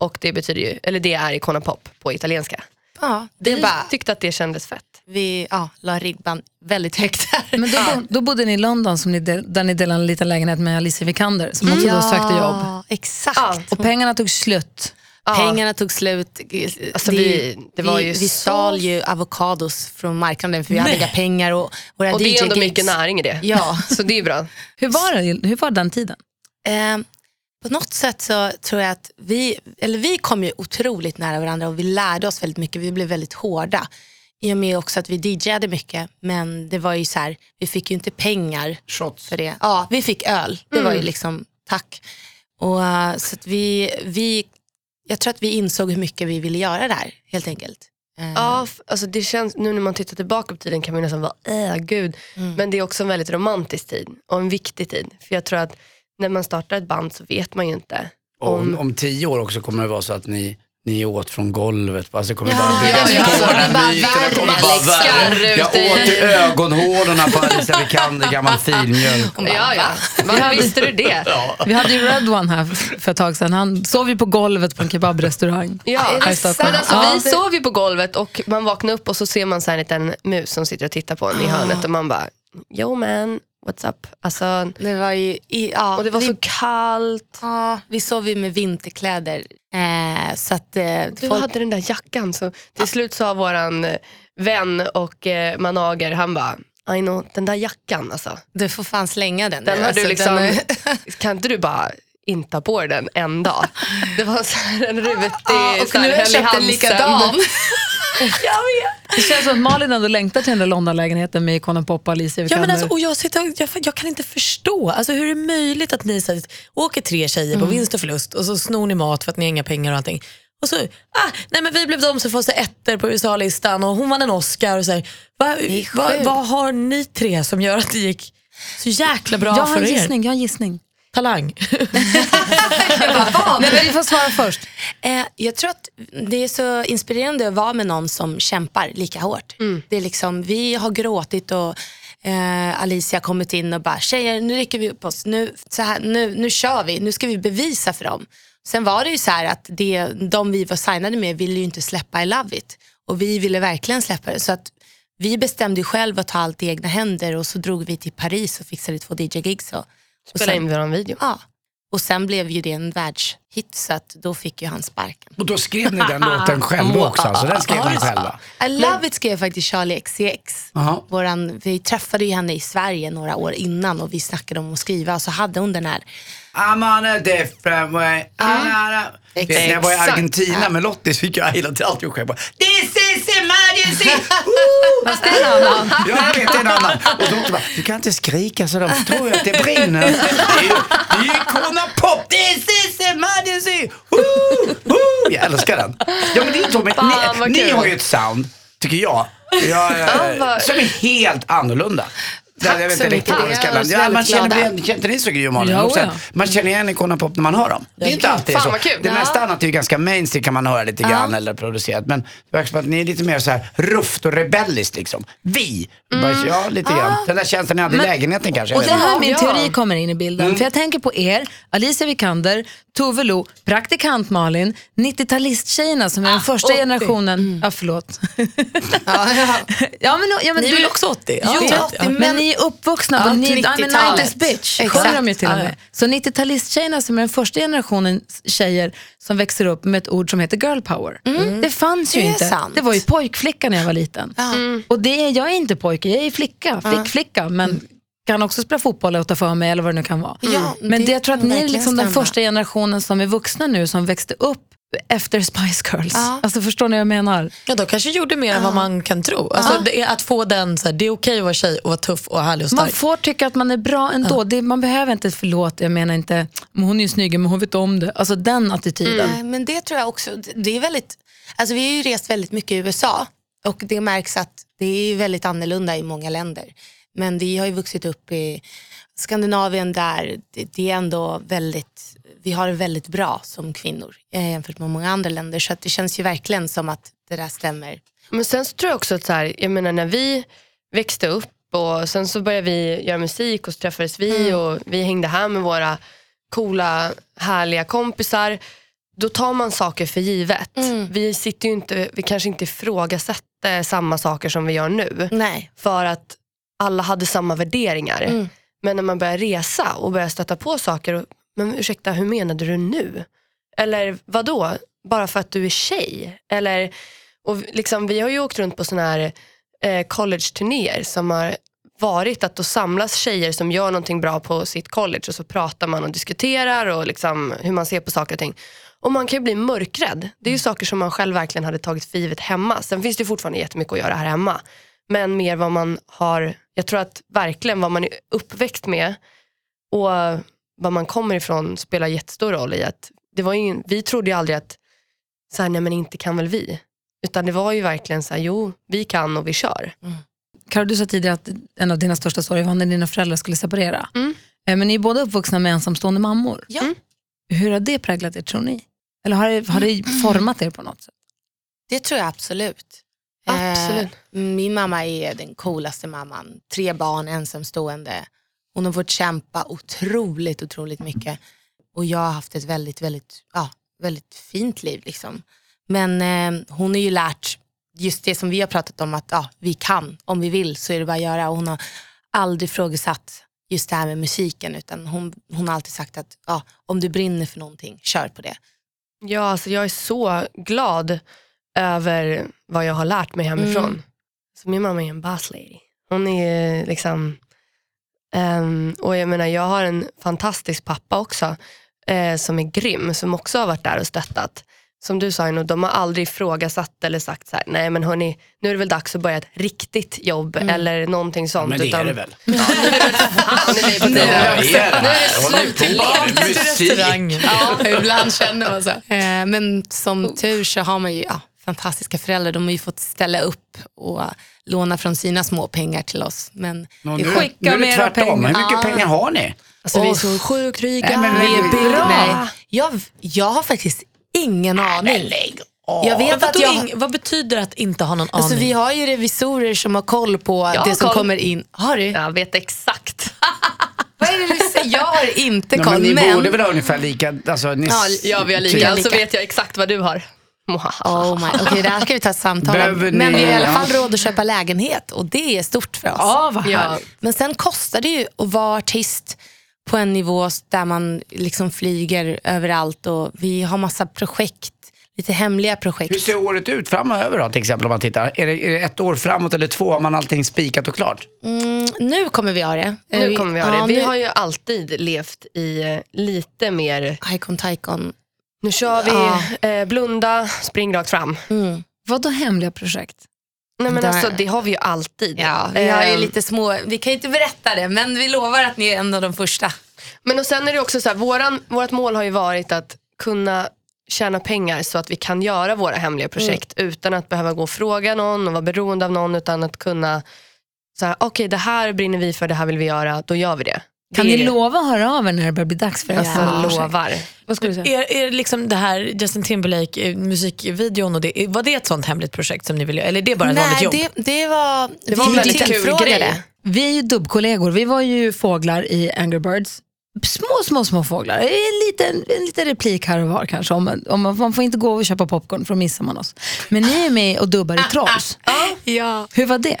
[SPEAKER 6] Och det betyder ju, eller det är Konan Pop på italienska.
[SPEAKER 7] Ja, det
[SPEAKER 6] vi
[SPEAKER 7] bara,
[SPEAKER 6] tyckte att det kändes fett.
[SPEAKER 7] vi ja, la ribban väldigt högt där.
[SPEAKER 1] Men då, bo, då bodde ni i London som ni del, där ni delade en liten lägenhet med Alicia Vikander som också då Alltså, sökte jobb.
[SPEAKER 7] Ja, exakt.
[SPEAKER 1] Och pengarna tog slut.
[SPEAKER 7] Pengarna tog slut.
[SPEAKER 6] Alltså,
[SPEAKER 7] Det-
[SPEAKER 6] vi- det var ju
[SPEAKER 7] vi, vi
[SPEAKER 6] så-
[SPEAKER 7] stal ju avokados från marknaden för vi hade inga pengar. Och, våra
[SPEAKER 6] Och det är ändå
[SPEAKER 7] DJ-gigs.
[SPEAKER 6] mycket näring i det.
[SPEAKER 7] Ja.
[SPEAKER 6] Så det är bra.
[SPEAKER 1] Hur var, det, hur var den tiden?
[SPEAKER 7] Eh, på något sätt så tror jag att vi, eller vi kom ju otroligt nära varandra och vi lärde oss väldigt mycket. Vi blev väldigt hårda. I och med också att vi DJade mycket, men det var ju så här, vi fick ju inte pengar
[SPEAKER 3] Shots.
[SPEAKER 7] för det. Ja, vi fick öl. Det
[SPEAKER 1] Mm.
[SPEAKER 7] var ju liksom tack. Och, eh, så att vi, vi, jag tror att vi insåg hur mycket vi ville göra där, helt enkelt. Eh,
[SPEAKER 6] Ja, f- alltså det känns, nu när man tittar tillbaka på tiden kan man ju nästan vara, äh, gud. Men det är också en väldigt romantisk tid och en viktig tid. För jag tror att när man startar ett band så vet man ju inte.
[SPEAKER 4] Och Om, om tio år också kommer det vara så att ni, ni åt från golvet. Alltså det kommer bara
[SPEAKER 7] ja,
[SPEAKER 4] byggas
[SPEAKER 7] ja.
[SPEAKER 4] på
[SPEAKER 7] Det
[SPEAKER 4] den
[SPEAKER 7] bara
[SPEAKER 4] här myten. Det kommer
[SPEAKER 7] värmer,
[SPEAKER 4] bara
[SPEAKER 7] Alex.
[SPEAKER 4] värme. Jag
[SPEAKER 6] Skarr
[SPEAKER 4] åt
[SPEAKER 6] ut i-
[SPEAKER 4] i ögonhålorna på Alicia Vikander, gammal filmjölk.
[SPEAKER 6] Ja, ja. Vad visste du det? Ja.
[SPEAKER 1] Vi hade ju Red One här f- för ett tag sedan. Han sov ju på golvet på en kebabrestaurang.
[SPEAKER 6] Ja,
[SPEAKER 1] Här i Stockholm.
[SPEAKER 6] men alltså,
[SPEAKER 1] Ja,
[SPEAKER 6] vi
[SPEAKER 1] det-
[SPEAKER 6] sov ju på golvet och man vaknar upp och så ser man så här en liten mus som sitter och tittar på en i hörnet och man bara, yo man, what's up? Alltså,
[SPEAKER 7] Det var ju, i, ja,
[SPEAKER 6] och det var
[SPEAKER 7] vi-
[SPEAKER 6] så kallt.
[SPEAKER 7] Ja, vi sov ju med vinterkläder. Eh, så att, eh,
[SPEAKER 6] Du
[SPEAKER 7] folk,
[SPEAKER 6] hade den där jackan. Så till slut sa våran eh, vän och eh, manager, han bara, "Aj, nå, den där jackan alltså.
[SPEAKER 7] du får fan slänga den.
[SPEAKER 6] Den
[SPEAKER 7] nu.
[SPEAKER 6] har
[SPEAKER 7] Alltså,
[SPEAKER 6] du liksom,
[SPEAKER 7] den är-
[SPEAKER 6] kan inte du bara inte ha på dig den en dag? Det var så här en rutig
[SPEAKER 7] Ja, Ah, och
[SPEAKER 6] så här,
[SPEAKER 7] nu har jag
[SPEAKER 6] höll i
[SPEAKER 7] köpt en
[SPEAKER 6] halsen.
[SPEAKER 7] likadan.
[SPEAKER 6] Jag vet.
[SPEAKER 1] Det känns som att Malin ändå längtar till den där Londonlägenheten med Ikonen Pop och Alicia
[SPEAKER 2] Ja,
[SPEAKER 1] Vikander.
[SPEAKER 2] men alltså, och jag, sitter, jag, jag kan inte förstå. Alltså, hur är det möjligt att ni så här, åker tre tjejer
[SPEAKER 1] Mm.
[SPEAKER 2] på vinst och förlust och så snor ni mat för att ni har inga pengar och allting. Och så, ah, nej men vi blev de som får så ettor på USA-listan och hon vann en Oscar. Och så här, va, va, vad har ni tre som gör att det gick så jäkla bra
[SPEAKER 1] jag har
[SPEAKER 2] för
[SPEAKER 1] en
[SPEAKER 2] er?
[SPEAKER 1] gissning, jag har en gissning.
[SPEAKER 2] Talang.
[SPEAKER 1] Nej, men vi får svara först.
[SPEAKER 7] Eh, jag tror att det är så inspirerande att vara med någon som kämpar lika hårt. Det är liksom, vi har gråtit och eh, Alicia har kommit in och bara, tjejer nu rycker vi upp oss, nu, så här, nu, nu kör vi, nu ska vi bevisa för dem. Sen var det ju så här att det, de vi var signade med ville ju inte släppa I Love It och vi ville verkligen släppa det. Så att vi bestämde ju själv att ta allt i egna händer och så drog vi till Paris och fixade två DJ-gigs. Och, och
[SPEAKER 6] Spela in
[SPEAKER 7] sen,
[SPEAKER 6] våran video.
[SPEAKER 7] ja. och sen blev ju det en världshit så att då fick ju han sparken.
[SPEAKER 4] Och då skrev ni den låten själva också alltså. Den skrev ni själva.
[SPEAKER 7] I Love It skrev faktiskt Charlie XCX.
[SPEAKER 4] Jaha.
[SPEAKER 7] Våran, vi träffade ju henne i Sverige några år innan och vi snackade om att skriva och så hade hon den här.
[SPEAKER 4] I'm on a different way. Mm. Vet, ni, när jag var i
[SPEAKER 6] Exakt.
[SPEAKER 4] Argentina med Lottis fick jag hela tiden alltid skämt på This is emergency!
[SPEAKER 1] Fast det är en annan.
[SPEAKER 4] jag vet en annan. Och de bara, du kan inte skrika så de tror ju att det brinner. Det är ju- det är ju Icona Pop! This is emergency! Woo! Woo! Jag älskar den. Ja men det är Tommy,
[SPEAKER 6] Fan, vad
[SPEAKER 4] ni, ni
[SPEAKER 6] kul.
[SPEAKER 4] har ju ett sound, tycker jag, jag eh,
[SPEAKER 6] vad-
[SPEAKER 4] som är helt annorlanda. Tack jag vet
[SPEAKER 7] så
[SPEAKER 4] inte
[SPEAKER 7] mycket.
[SPEAKER 4] riktigt vad det ska
[SPEAKER 7] Jag är
[SPEAKER 4] landa. Ja, man
[SPEAKER 7] väldigt
[SPEAKER 4] känner
[SPEAKER 7] glada.
[SPEAKER 4] igen Känner inte ni så Gry och Malin?
[SPEAKER 1] Jo,
[SPEAKER 4] Också
[SPEAKER 1] ja.
[SPEAKER 4] att Man känner igen Icona Pop när man hör dem. Det är inte alltid
[SPEAKER 6] Fan,
[SPEAKER 4] så.
[SPEAKER 6] vad kul.
[SPEAKER 4] Det
[SPEAKER 6] Ja.
[SPEAKER 4] mesta annat är ju ganska mainstream kan man höra lite grann eller producerat. Men det verkar som att ni är lite mer så här rufft och rebelliskt liksom. Vi! Bara, ja, lite grann. Den där känslan ni hade i lägenheten kanske. jag
[SPEAKER 1] Och
[SPEAKER 4] vet
[SPEAKER 1] det här
[SPEAKER 4] inte.
[SPEAKER 1] min
[SPEAKER 6] Ja.
[SPEAKER 1] teori kommer in i bilden.
[SPEAKER 2] Mm.
[SPEAKER 1] För jag tänker på er, Alicia Vikander, Tove Lo, praktikant Malin, 90-talisttjejerna som är den första
[SPEAKER 2] 80.
[SPEAKER 1] generationen.
[SPEAKER 2] Mm.
[SPEAKER 1] Ja, förlåt.
[SPEAKER 7] Ja,
[SPEAKER 1] ja, men, ja, men
[SPEAKER 2] Ni är
[SPEAKER 1] du-
[SPEAKER 2] väl också 80?
[SPEAKER 1] Jo,
[SPEAKER 2] Ja.
[SPEAKER 1] men,
[SPEAKER 7] men-
[SPEAKER 1] ni är uppvuxna på
[SPEAKER 2] Ja,
[SPEAKER 1] 90 I'm a
[SPEAKER 2] 90-talet.
[SPEAKER 1] 90s bitch,
[SPEAKER 7] Exakt.
[SPEAKER 1] sjunger de ju till och
[SPEAKER 2] Ja, ja.
[SPEAKER 1] med. Så 90-talisttjejerna som är den första generationen tjejer som växer upp med ett ord som heter girl power.
[SPEAKER 2] Mm.
[SPEAKER 1] Det fanns ju
[SPEAKER 7] Det är
[SPEAKER 1] inte.
[SPEAKER 7] sant.
[SPEAKER 1] Det var ju pojkflicka när jag var liten.
[SPEAKER 2] Mm.
[SPEAKER 1] Och det är, jag är inte pojke, jag är flicka, flickflicka,
[SPEAKER 2] Mm.
[SPEAKER 1] men kan också spela fotboll och ta för mig eller vad det nu kan vara.
[SPEAKER 7] Mm. Ja,
[SPEAKER 1] men det,
[SPEAKER 7] det
[SPEAKER 1] jag tror att
[SPEAKER 7] kan
[SPEAKER 1] ni är
[SPEAKER 7] verkligen
[SPEAKER 1] liksom den
[SPEAKER 7] stämma.
[SPEAKER 1] första generationen som är vuxna nu som växte upp efter Spice Girls. Alltså förstår ni vad jag menar?
[SPEAKER 2] Ja, de kanske gjorde mer än vad man kan tro. Alltså,
[SPEAKER 1] Ja.
[SPEAKER 2] det är att få den, så här, det är okej att vara tjej och vara tuff och härlig och stark.
[SPEAKER 1] Man får tycka att man är bra ändå. Det, man behöver inte, förlåt, jag menar inte, men hon är ju snygg men hon vet om det. Alltså den attityden.
[SPEAKER 7] Nej, men det tror jag också. Det är väldigt, alltså vi har ju rest väldigt mycket i USA och det märks att det är ju väldigt annorlunda i många länder. Men vi har ju vuxit upp i Skandinavien där det, det är ändå väldigt, vi har det väldigt bra som kvinnor eh, jämfört med många andra länder. Så att det känns ju verkligen som att det där stämmer.
[SPEAKER 6] Men sen så tror jag också att så här, jag menar när vi växte upp och sen så började vi göra musik och så träffades vi
[SPEAKER 7] Mm.
[SPEAKER 6] och vi hängde här med våra coola, härliga kompisar. Då tar man saker för givet.
[SPEAKER 7] Mm.
[SPEAKER 6] Vi, sitter ju inte, vi kanske inte ifrågasätter samma saker som vi gör nu.
[SPEAKER 7] Nej.
[SPEAKER 6] För att alla hade samma värderingar. Men när man börjar resa och börjar stöta på saker. Och, men ursäkta, hur menade du nu? Eller vad då? Bara för att du är tjej? Eller, och liksom, vi har ju åkt runt på såna här eh, college-turnéer som har varit att då samlas tjejer som gör någonting bra på sitt college och så pratar man och diskuterar och liksom hur man ser på saker och ting. Och man kan ju bli mörkrädd. Det är ju saker som man själv verkligen hade tagit för givet hemma. Sen finns det ju fortfarande jättemycket att göra här hemma. Men mer vad man har, jag tror att verkligen vad man är uppväxt med och var man kommer ifrån spelar jättestor roll i att det var ju ingen, vi trodde ju aldrig att så här, nej men inte kan väl vi. Utan det var ju verkligen så här, jo vi kan och vi kör.
[SPEAKER 1] Karo, du sa tidigare att en av dina största sorger var när dina föräldrar skulle separera. Eh, Men ni är båda uppvuxna med ensamstående mammor.
[SPEAKER 7] Mm.
[SPEAKER 1] Mm.
[SPEAKER 7] Ja.
[SPEAKER 1] Hur har det präglat er tror ni? Eller har det, har det
[SPEAKER 7] Mm.
[SPEAKER 1] format er på något sätt?
[SPEAKER 7] Det tror jag absolut.
[SPEAKER 6] Absolut.
[SPEAKER 7] Eh, min mamma är den coolaste mamman. Tre barn, ensamstående. Hon har fått kämpa otroligt, otroligt mycket. Och jag har haft ett väldigt, väldigt, ja, väldigt fint liv. Liksom. Men eh, hon har ju lärt just det som vi har pratat om, att ja, vi kan. Om vi vill så är det bara att göra. Och hon har aldrig frågesatt just det här med musiken. Utan hon, hon har alltid sagt att ja, om du brinner för någonting, kör på det.
[SPEAKER 6] Ja, alltså jag är så glad över vad jag har lärt mig hemifrån.
[SPEAKER 7] Mm.
[SPEAKER 6] Så min mamma är en boss lady. Hon är eh, liksom, ehm, och jag menar jag har en fantastisk pappa också eh, som är grym, som också har varit där och stöttat. Som du sa, Ino, de har aldrig ifrågasatt eller sagt så här, nej men hörni, nu är det väl dags att börja ett riktigt jobb
[SPEAKER 7] Mm.
[SPEAKER 6] eller någonting sånt.
[SPEAKER 4] Men det är
[SPEAKER 6] utan-
[SPEAKER 4] det väl?
[SPEAKER 6] Fan, det är på
[SPEAKER 4] Ja,
[SPEAKER 6] tiden.
[SPEAKER 4] det är det här. Hon är ju
[SPEAKER 2] Tillbaka
[SPEAKER 4] populär.
[SPEAKER 2] till
[SPEAKER 4] Musik.
[SPEAKER 2] restaurangen.
[SPEAKER 7] Ja, ibland känner man så. Eh, Men som tur så har man ju ja, fantastiska föräldrar. De har ju fått ställa upp och låna från sina små pengar till oss. Men
[SPEAKER 4] Nå,
[SPEAKER 7] det
[SPEAKER 4] Nu
[SPEAKER 7] är skönt.
[SPEAKER 4] nu är det
[SPEAKER 1] mera
[SPEAKER 4] tvärtom. Hur mycket pengar har ni?
[SPEAKER 6] Alltså, vi är så sjukt rika.
[SPEAKER 7] Vi är bra. Nej, jag, jag har faktiskt ingen aning. Jag vet att
[SPEAKER 2] Vadå
[SPEAKER 7] jag...
[SPEAKER 2] ing- vad betyder att inte ha någon aning?
[SPEAKER 7] Alltså, vi har ju revisorer som har koll på
[SPEAKER 6] Jag har
[SPEAKER 7] det som
[SPEAKER 6] koll.
[SPEAKER 7] kommer in. Har du?
[SPEAKER 6] Jag vet exakt.
[SPEAKER 7] Vad är det du säger? Jag har inte
[SPEAKER 4] Nej,
[SPEAKER 7] koll.
[SPEAKER 4] men ni
[SPEAKER 7] men...
[SPEAKER 4] borde väl ha ungefär lika? Alltså, ni
[SPEAKER 7] Ja,
[SPEAKER 4] s-
[SPEAKER 6] Ja, vi har
[SPEAKER 4] typ.
[SPEAKER 6] lika. Så
[SPEAKER 7] lika.
[SPEAKER 6] vet jag exakt vad du har.
[SPEAKER 7] Oh my, okej, det här ska vi ta ett samtal om.
[SPEAKER 4] Behöver ni-
[SPEAKER 7] Men vi har i alla
[SPEAKER 4] ja.
[SPEAKER 7] fall råd att köpa lägenhet och det är stort för oss.
[SPEAKER 1] vad
[SPEAKER 6] Ja.
[SPEAKER 7] Men sen kostar det ju att vara artist på en nivå där man liksom flyger överallt och vi har massa projekt, lite hemliga projekt.
[SPEAKER 4] Hur ser året ut framöver då, till exempel om man tittar? Är det, är det ett år framåt eller två? Har man allting spikat och klart?
[SPEAKER 7] Mm, nu kommer vi ha det.
[SPEAKER 6] Nu kommer vi ha det.
[SPEAKER 7] Ja,
[SPEAKER 6] Vi
[SPEAKER 7] nu-
[SPEAKER 6] har ju alltid levt i eh, lite mer,
[SPEAKER 7] Icon Tycon.
[SPEAKER 6] nu kör vi,
[SPEAKER 7] Ja.
[SPEAKER 6] eh, blunda, spring rakt fram.
[SPEAKER 7] Mm.
[SPEAKER 1] Vad då hemliga projekt?
[SPEAKER 6] Nej men
[SPEAKER 7] Där-
[SPEAKER 6] alltså det har vi ju alltid.
[SPEAKER 7] Ja, vi har ju
[SPEAKER 6] Ehm,
[SPEAKER 7] lite små, vi kan ju inte berätta det men vi lovar att ni är en av de första.
[SPEAKER 6] Men och sen är det också så här, våran, vårt mål har ju varit att kunna tjäna pengar så att vi kan göra våra hemliga
[SPEAKER 7] Mm.
[SPEAKER 6] projekt utan att behöva gå och fråga någon och vara beroende av någon utan att kunna, så här, okej det här brinner vi för, det här vill vi göra, då gör vi det.
[SPEAKER 1] Kan
[SPEAKER 6] det är
[SPEAKER 1] ni
[SPEAKER 6] det.
[SPEAKER 1] lova att höra av er när det börjar bli dags för
[SPEAKER 6] Alltså
[SPEAKER 1] era projekt?
[SPEAKER 6] lovar.
[SPEAKER 1] Vad skulle du säga?
[SPEAKER 2] Är, är det liksom det här Justin Timberlake eh, musikvideon, och det, var det ett sånt hemligt projekt som ni ville göra? Eller är det bara ett vanligt
[SPEAKER 7] Nej,
[SPEAKER 2] jobb?
[SPEAKER 7] det, det var,
[SPEAKER 6] Det var en
[SPEAKER 7] vi blev
[SPEAKER 6] väldigt kul
[SPEAKER 7] tillfrågade.
[SPEAKER 6] grej.
[SPEAKER 1] Vi är ju dubbkollegor. Vi var ju fåglar i Angry Birds. Små, små, små fåglar. En liten, en liten replik här och var kanske. Om, om man, man får inte gå och köpa popcorn för då missar man oss. Men ni är med och dubbar i Trolls.
[SPEAKER 7] Ah, Ja.
[SPEAKER 1] Hur var det?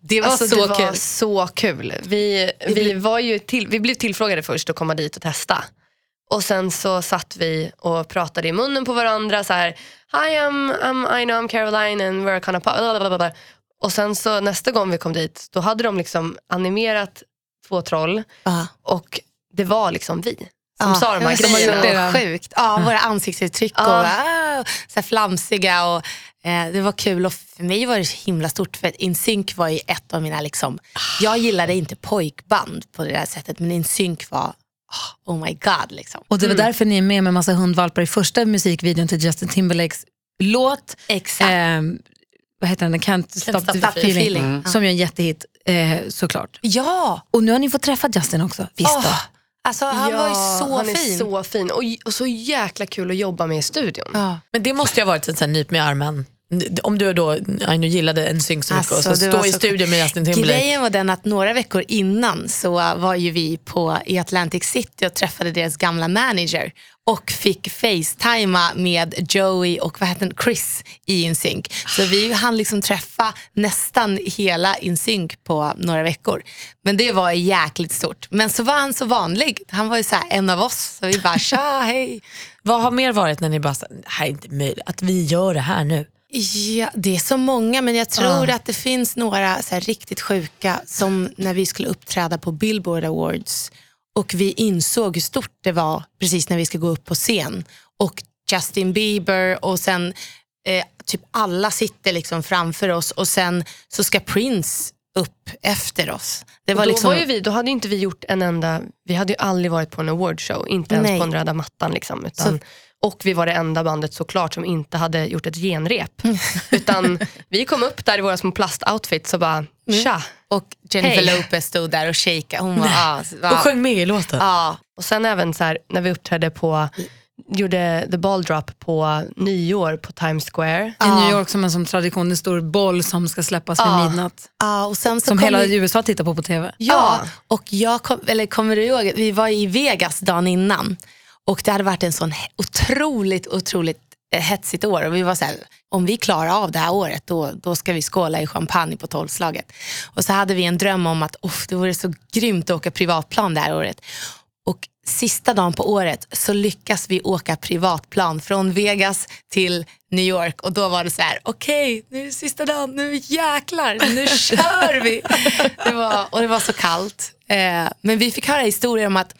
[SPEAKER 7] Det var
[SPEAKER 6] Alltså,
[SPEAKER 7] så
[SPEAKER 6] det var
[SPEAKER 7] kul.
[SPEAKER 6] så kul. Vi, vi, var ju till, vi blev tillfrågade först att komma dit och testa. Och sen så satt vi och pratade i munnen på varandra så här, Hi I'm, I'm, I know I'm Caroline and we're kind of blablabla. Och sen så nästa gång vi kom dit, då hade de liksom animerat två troll
[SPEAKER 7] Ja.
[SPEAKER 6] och det var liksom vi. som sa de här
[SPEAKER 7] som har gjort
[SPEAKER 6] grejerna.
[SPEAKER 7] det sjukt. Ja, våra ansiktsuttryck och ah, så här flamsiga. Och, eh, det var kul och för mig var det så himla stort för att NSYNC var ju ett av mina, liksom, jag gillade inte pojkband på det där sättet men NSYNC var ah, oh my god. Liksom.
[SPEAKER 1] Och det var därför ni är med med massa hundvalpar i första musikvideon till Justin Timberlakes låt.
[SPEAKER 7] Exakt.
[SPEAKER 1] Ehm, vad heter den? Can't stop,
[SPEAKER 7] Stop
[SPEAKER 1] the
[SPEAKER 7] the
[SPEAKER 1] feeling. Mm.
[SPEAKER 7] Feeling.
[SPEAKER 1] Som ju är en jättehit eh, såklart.
[SPEAKER 7] Ja,
[SPEAKER 1] Och nu har ni fått träffa Justin också. Visst då?
[SPEAKER 7] Åh, alltså, han var ju så
[SPEAKER 6] han
[SPEAKER 7] fin.
[SPEAKER 6] är så fin och, och så jäkla kul att jobba med i studion.
[SPEAKER 7] Ja.
[SPEAKER 2] Men det måste ju ha varit ett sånt här nyp med armen. Om du då Aino gillade en synk så mycket och
[SPEAKER 1] Alltså,
[SPEAKER 2] så
[SPEAKER 7] Alltså, det var
[SPEAKER 2] stå i
[SPEAKER 7] så-
[SPEAKER 2] studion med Justin Timberlake.
[SPEAKER 7] Grejen var den att några veckor innan så var ju vi på, i Atlantic City och träffade deras gamla manager och fick facetima med Joey och vad heter den? Chris i NSYNC. Så vi hann liksom träffa nästan hela NSYNC på några veckor. Men det var jäkligt stort. Men så var han så vanlig. Han var ju så här en av oss. Så vi bara tja, hej.
[SPEAKER 2] Vad har mer varit när ni bara, sa, det här är inte möjligt, att vi gör det här nu?
[SPEAKER 7] Ja, det är så många, men jag tror att det finns några så här, riktigt sjuka som när vi skulle uppträda på Billboard Awards och vi insåg hur stort det var precis när vi ska gå upp på scen. Och Justin Bieber och sen eh, typ alla sitter liksom framför oss och sen så ska Prince upp efter oss. Det var
[SPEAKER 6] då,
[SPEAKER 7] liksom,
[SPEAKER 6] var ju vi, då hade ju inte vi gjort en enda, vi hade ju aldrig varit på en awardshow, inte ens
[SPEAKER 7] Nej.
[SPEAKER 6] på den röda mattan. Liksom, utan,
[SPEAKER 7] Så-
[SPEAKER 6] och vi var det enda bandet såklart som inte hade gjort ett genrep.
[SPEAKER 7] Mm.
[SPEAKER 6] utan vi kom upp där i våra små plastoutfits och bara,
[SPEAKER 7] Mm.
[SPEAKER 6] tja.
[SPEAKER 7] och Jennifer
[SPEAKER 6] Hej.
[SPEAKER 7] Lopez stod där och shakade. Hon var, ah,
[SPEAKER 2] Och sjöng med i låten.
[SPEAKER 7] ja,
[SPEAKER 6] Och sen även så här, när vi uppträdde på, gjorde the ball drop på nyår på Times Square.
[SPEAKER 1] I New York som en som tradition, en stor boll som ska släppas vid midnatt.
[SPEAKER 7] ja, Ah, och sen så
[SPEAKER 1] Som
[SPEAKER 7] kom
[SPEAKER 1] hela
[SPEAKER 7] vi-
[SPEAKER 1] USA tittar på på TV.
[SPEAKER 7] Ja, och jag kom, eller kommer du ihåg, att vi var i Vegas dagen innan och det hade varit en sån he- otroligt, otroligt eh, hetsigt år och vi var så här, om vi klarar av det här året då, då ska vi skåla i champagne på tolvslaget. Och så hade vi en dröm om att "Uff, det vore så grymt att åka privatplan det här året. Och sista dagen på året så lyckas vi åka privatplan från Vegas till New York och då var det så här, okej nu är det sista dagen, nu jäklar, nu kör vi. Det var, och det var så kallt. Eh, men vi fick höra historier om att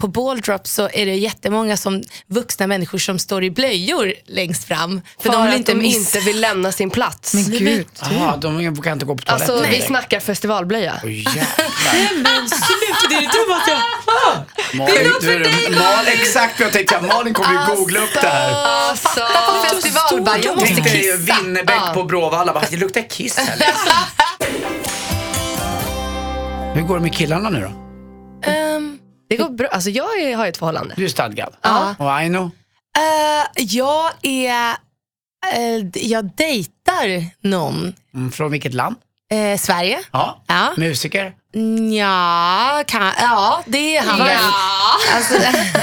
[SPEAKER 7] på ball drop så är det jättemånga som, vuxna människor som står i blöjor längst fram. För, de vill
[SPEAKER 6] att
[SPEAKER 7] inte
[SPEAKER 6] de
[SPEAKER 7] missa.
[SPEAKER 6] inte vill lämna sin plats.
[SPEAKER 1] Men gud.
[SPEAKER 4] Jaha, de kan inte gå på toaletten.
[SPEAKER 6] Alltså vi
[SPEAKER 4] direkt.
[SPEAKER 6] snackar festivalblöja.
[SPEAKER 4] Åh, jävlar.
[SPEAKER 2] Sluta, det är det dummaste jag
[SPEAKER 4] Malin, du är en- Mal, exakt vad jag tänkte. Malin kommer ju googla upp det här.
[SPEAKER 6] Alltså,
[SPEAKER 7] Äh. Festival, bara, jag måste
[SPEAKER 4] Tänk dig
[SPEAKER 7] kissa.
[SPEAKER 4] ju Winnerbäck på Bråvalla. Bara, Det luktar kiss här. Hur går det med killarna nu då?
[SPEAKER 7] Ehm,
[SPEAKER 6] det går bra. Alltså, jag är, har ju ett förhållande.
[SPEAKER 4] Du är stadgad. Ja. Och Aino?
[SPEAKER 7] eh, jag är, eh, jag dejtar någon.
[SPEAKER 4] Mm, från vilket land?
[SPEAKER 7] Eh, Sverige?
[SPEAKER 4] Ja.
[SPEAKER 7] Ja.
[SPEAKER 4] Musiker?
[SPEAKER 7] Ja, kan, ja, det är han.
[SPEAKER 4] Ja.
[SPEAKER 7] Alltså,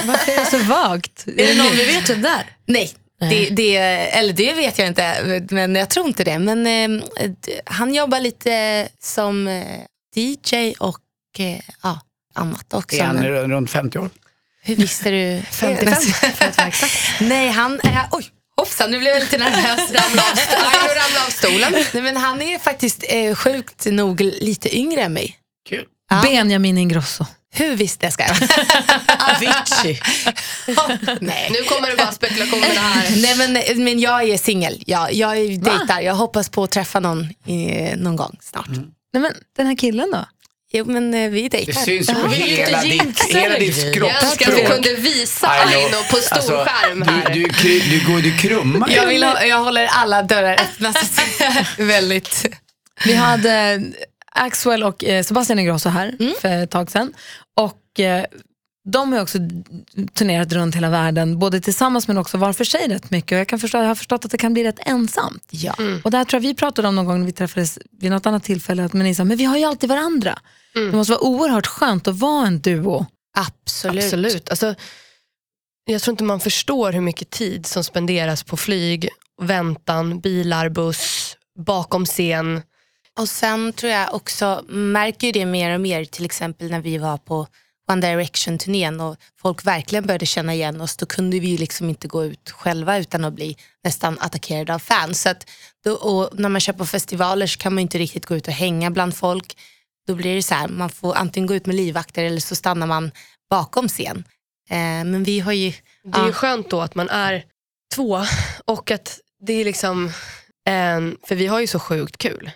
[SPEAKER 1] Varför är det så vagt?
[SPEAKER 2] Är typ det någon vi vet vem det är?
[SPEAKER 7] nej, det, det, eller det vet jag inte, men jag tror inte det. Men eh, d- han jobbar lite som eh, DJ och eh, ja, annat också.
[SPEAKER 4] Är han
[SPEAKER 7] Men,
[SPEAKER 4] r- runt 50 år?
[SPEAKER 7] hur visste du?
[SPEAKER 6] 55, för att vara exakt.
[SPEAKER 7] nej, han är... Oj. Hoppsan, nu blev jag lite nervös. Ramlade av, st- Aj, jag ramlade av stolen. Nej, men han är faktiskt eh, sjukt nog lite yngre än mig.
[SPEAKER 4] Kul.
[SPEAKER 1] Benjamin Ingrosso.
[SPEAKER 7] Hur visste jag? Ska jag?
[SPEAKER 2] Avicii.
[SPEAKER 7] Nej.
[SPEAKER 6] Nu kommer det bara spekulationer här.
[SPEAKER 7] Nej men, men jag är singel. Jag, jag är- dejtar. Jag hoppas på att träffa någon eh, någon gång snart.
[SPEAKER 1] Nej, men, den här killen då?
[SPEAKER 7] Jo men eh, vi
[SPEAKER 4] Det
[SPEAKER 7] dejtar.
[SPEAKER 4] syns ju på hela ditt, hela ditt
[SPEAKER 6] Jag önskar att vi
[SPEAKER 4] kroppsspråk.
[SPEAKER 6] kunde visa
[SPEAKER 4] Aino.
[SPEAKER 6] Aino på stor
[SPEAKER 4] Alltså,
[SPEAKER 6] skärm
[SPEAKER 4] du,
[SPEAKER 6] här.
[SPEAKER 4] du, kry- du, går- du krummar ju.
[SPEAKER 7] Jag, vill ha, jag håller alla dörrar öppna. så att- Väldigt.
[SPEAKER 1] Vi hade Axwell och eh, Sebastian Ingrosso här
[SPEAKER 7] Mm.
[SPEAKER 1] för ett tag sedan. Och eh, de har också turnerat runt hela världen, både tillsammans men också var för sig rätt mycket. Och jag, kan förstå, jag har förstått att det kan bli rätt ensamt.
[SPEAKER 7] Ja.
[SPEAKER 1] Och där tror jag vi pratade om någon gång när vi träffades vid något annat tillfälle, att men ni sa, men vi har ju alltid varandra.
[SPEAKER 7] Mm.
[SPEAKER 1] Det måste vara oerhört skönt att vara en duo.
[SPEAKER 7] Absolut.
[SPEAKER 6] Absolut. Alltså, jag tror inte man förstår hur mycket tid som spenderas på flyg, väntan, bilar, buss, bakom scen.
[SPEAKER 7] Och sen tror jag också, märker ju det mer och mer, till exempel när vi var på One Direction-turnén och folk verkligen började känna igen oss, då kunde vi ju liksom inte gå ut själva utan att bli nästan attackerade av fans. Så att då, och när man kör på festivaler så kan man ju inte riktigt gå ut och hänga bland folk. Då blir det så här, man får antingen gå ut med livvakter eller så stannar man bakom scen. Eh, men vi har ju...
[SPEAKER 6] Det är ju skönt då att man är två och att det är liksom, eh, för vi har ju så sjukt kul.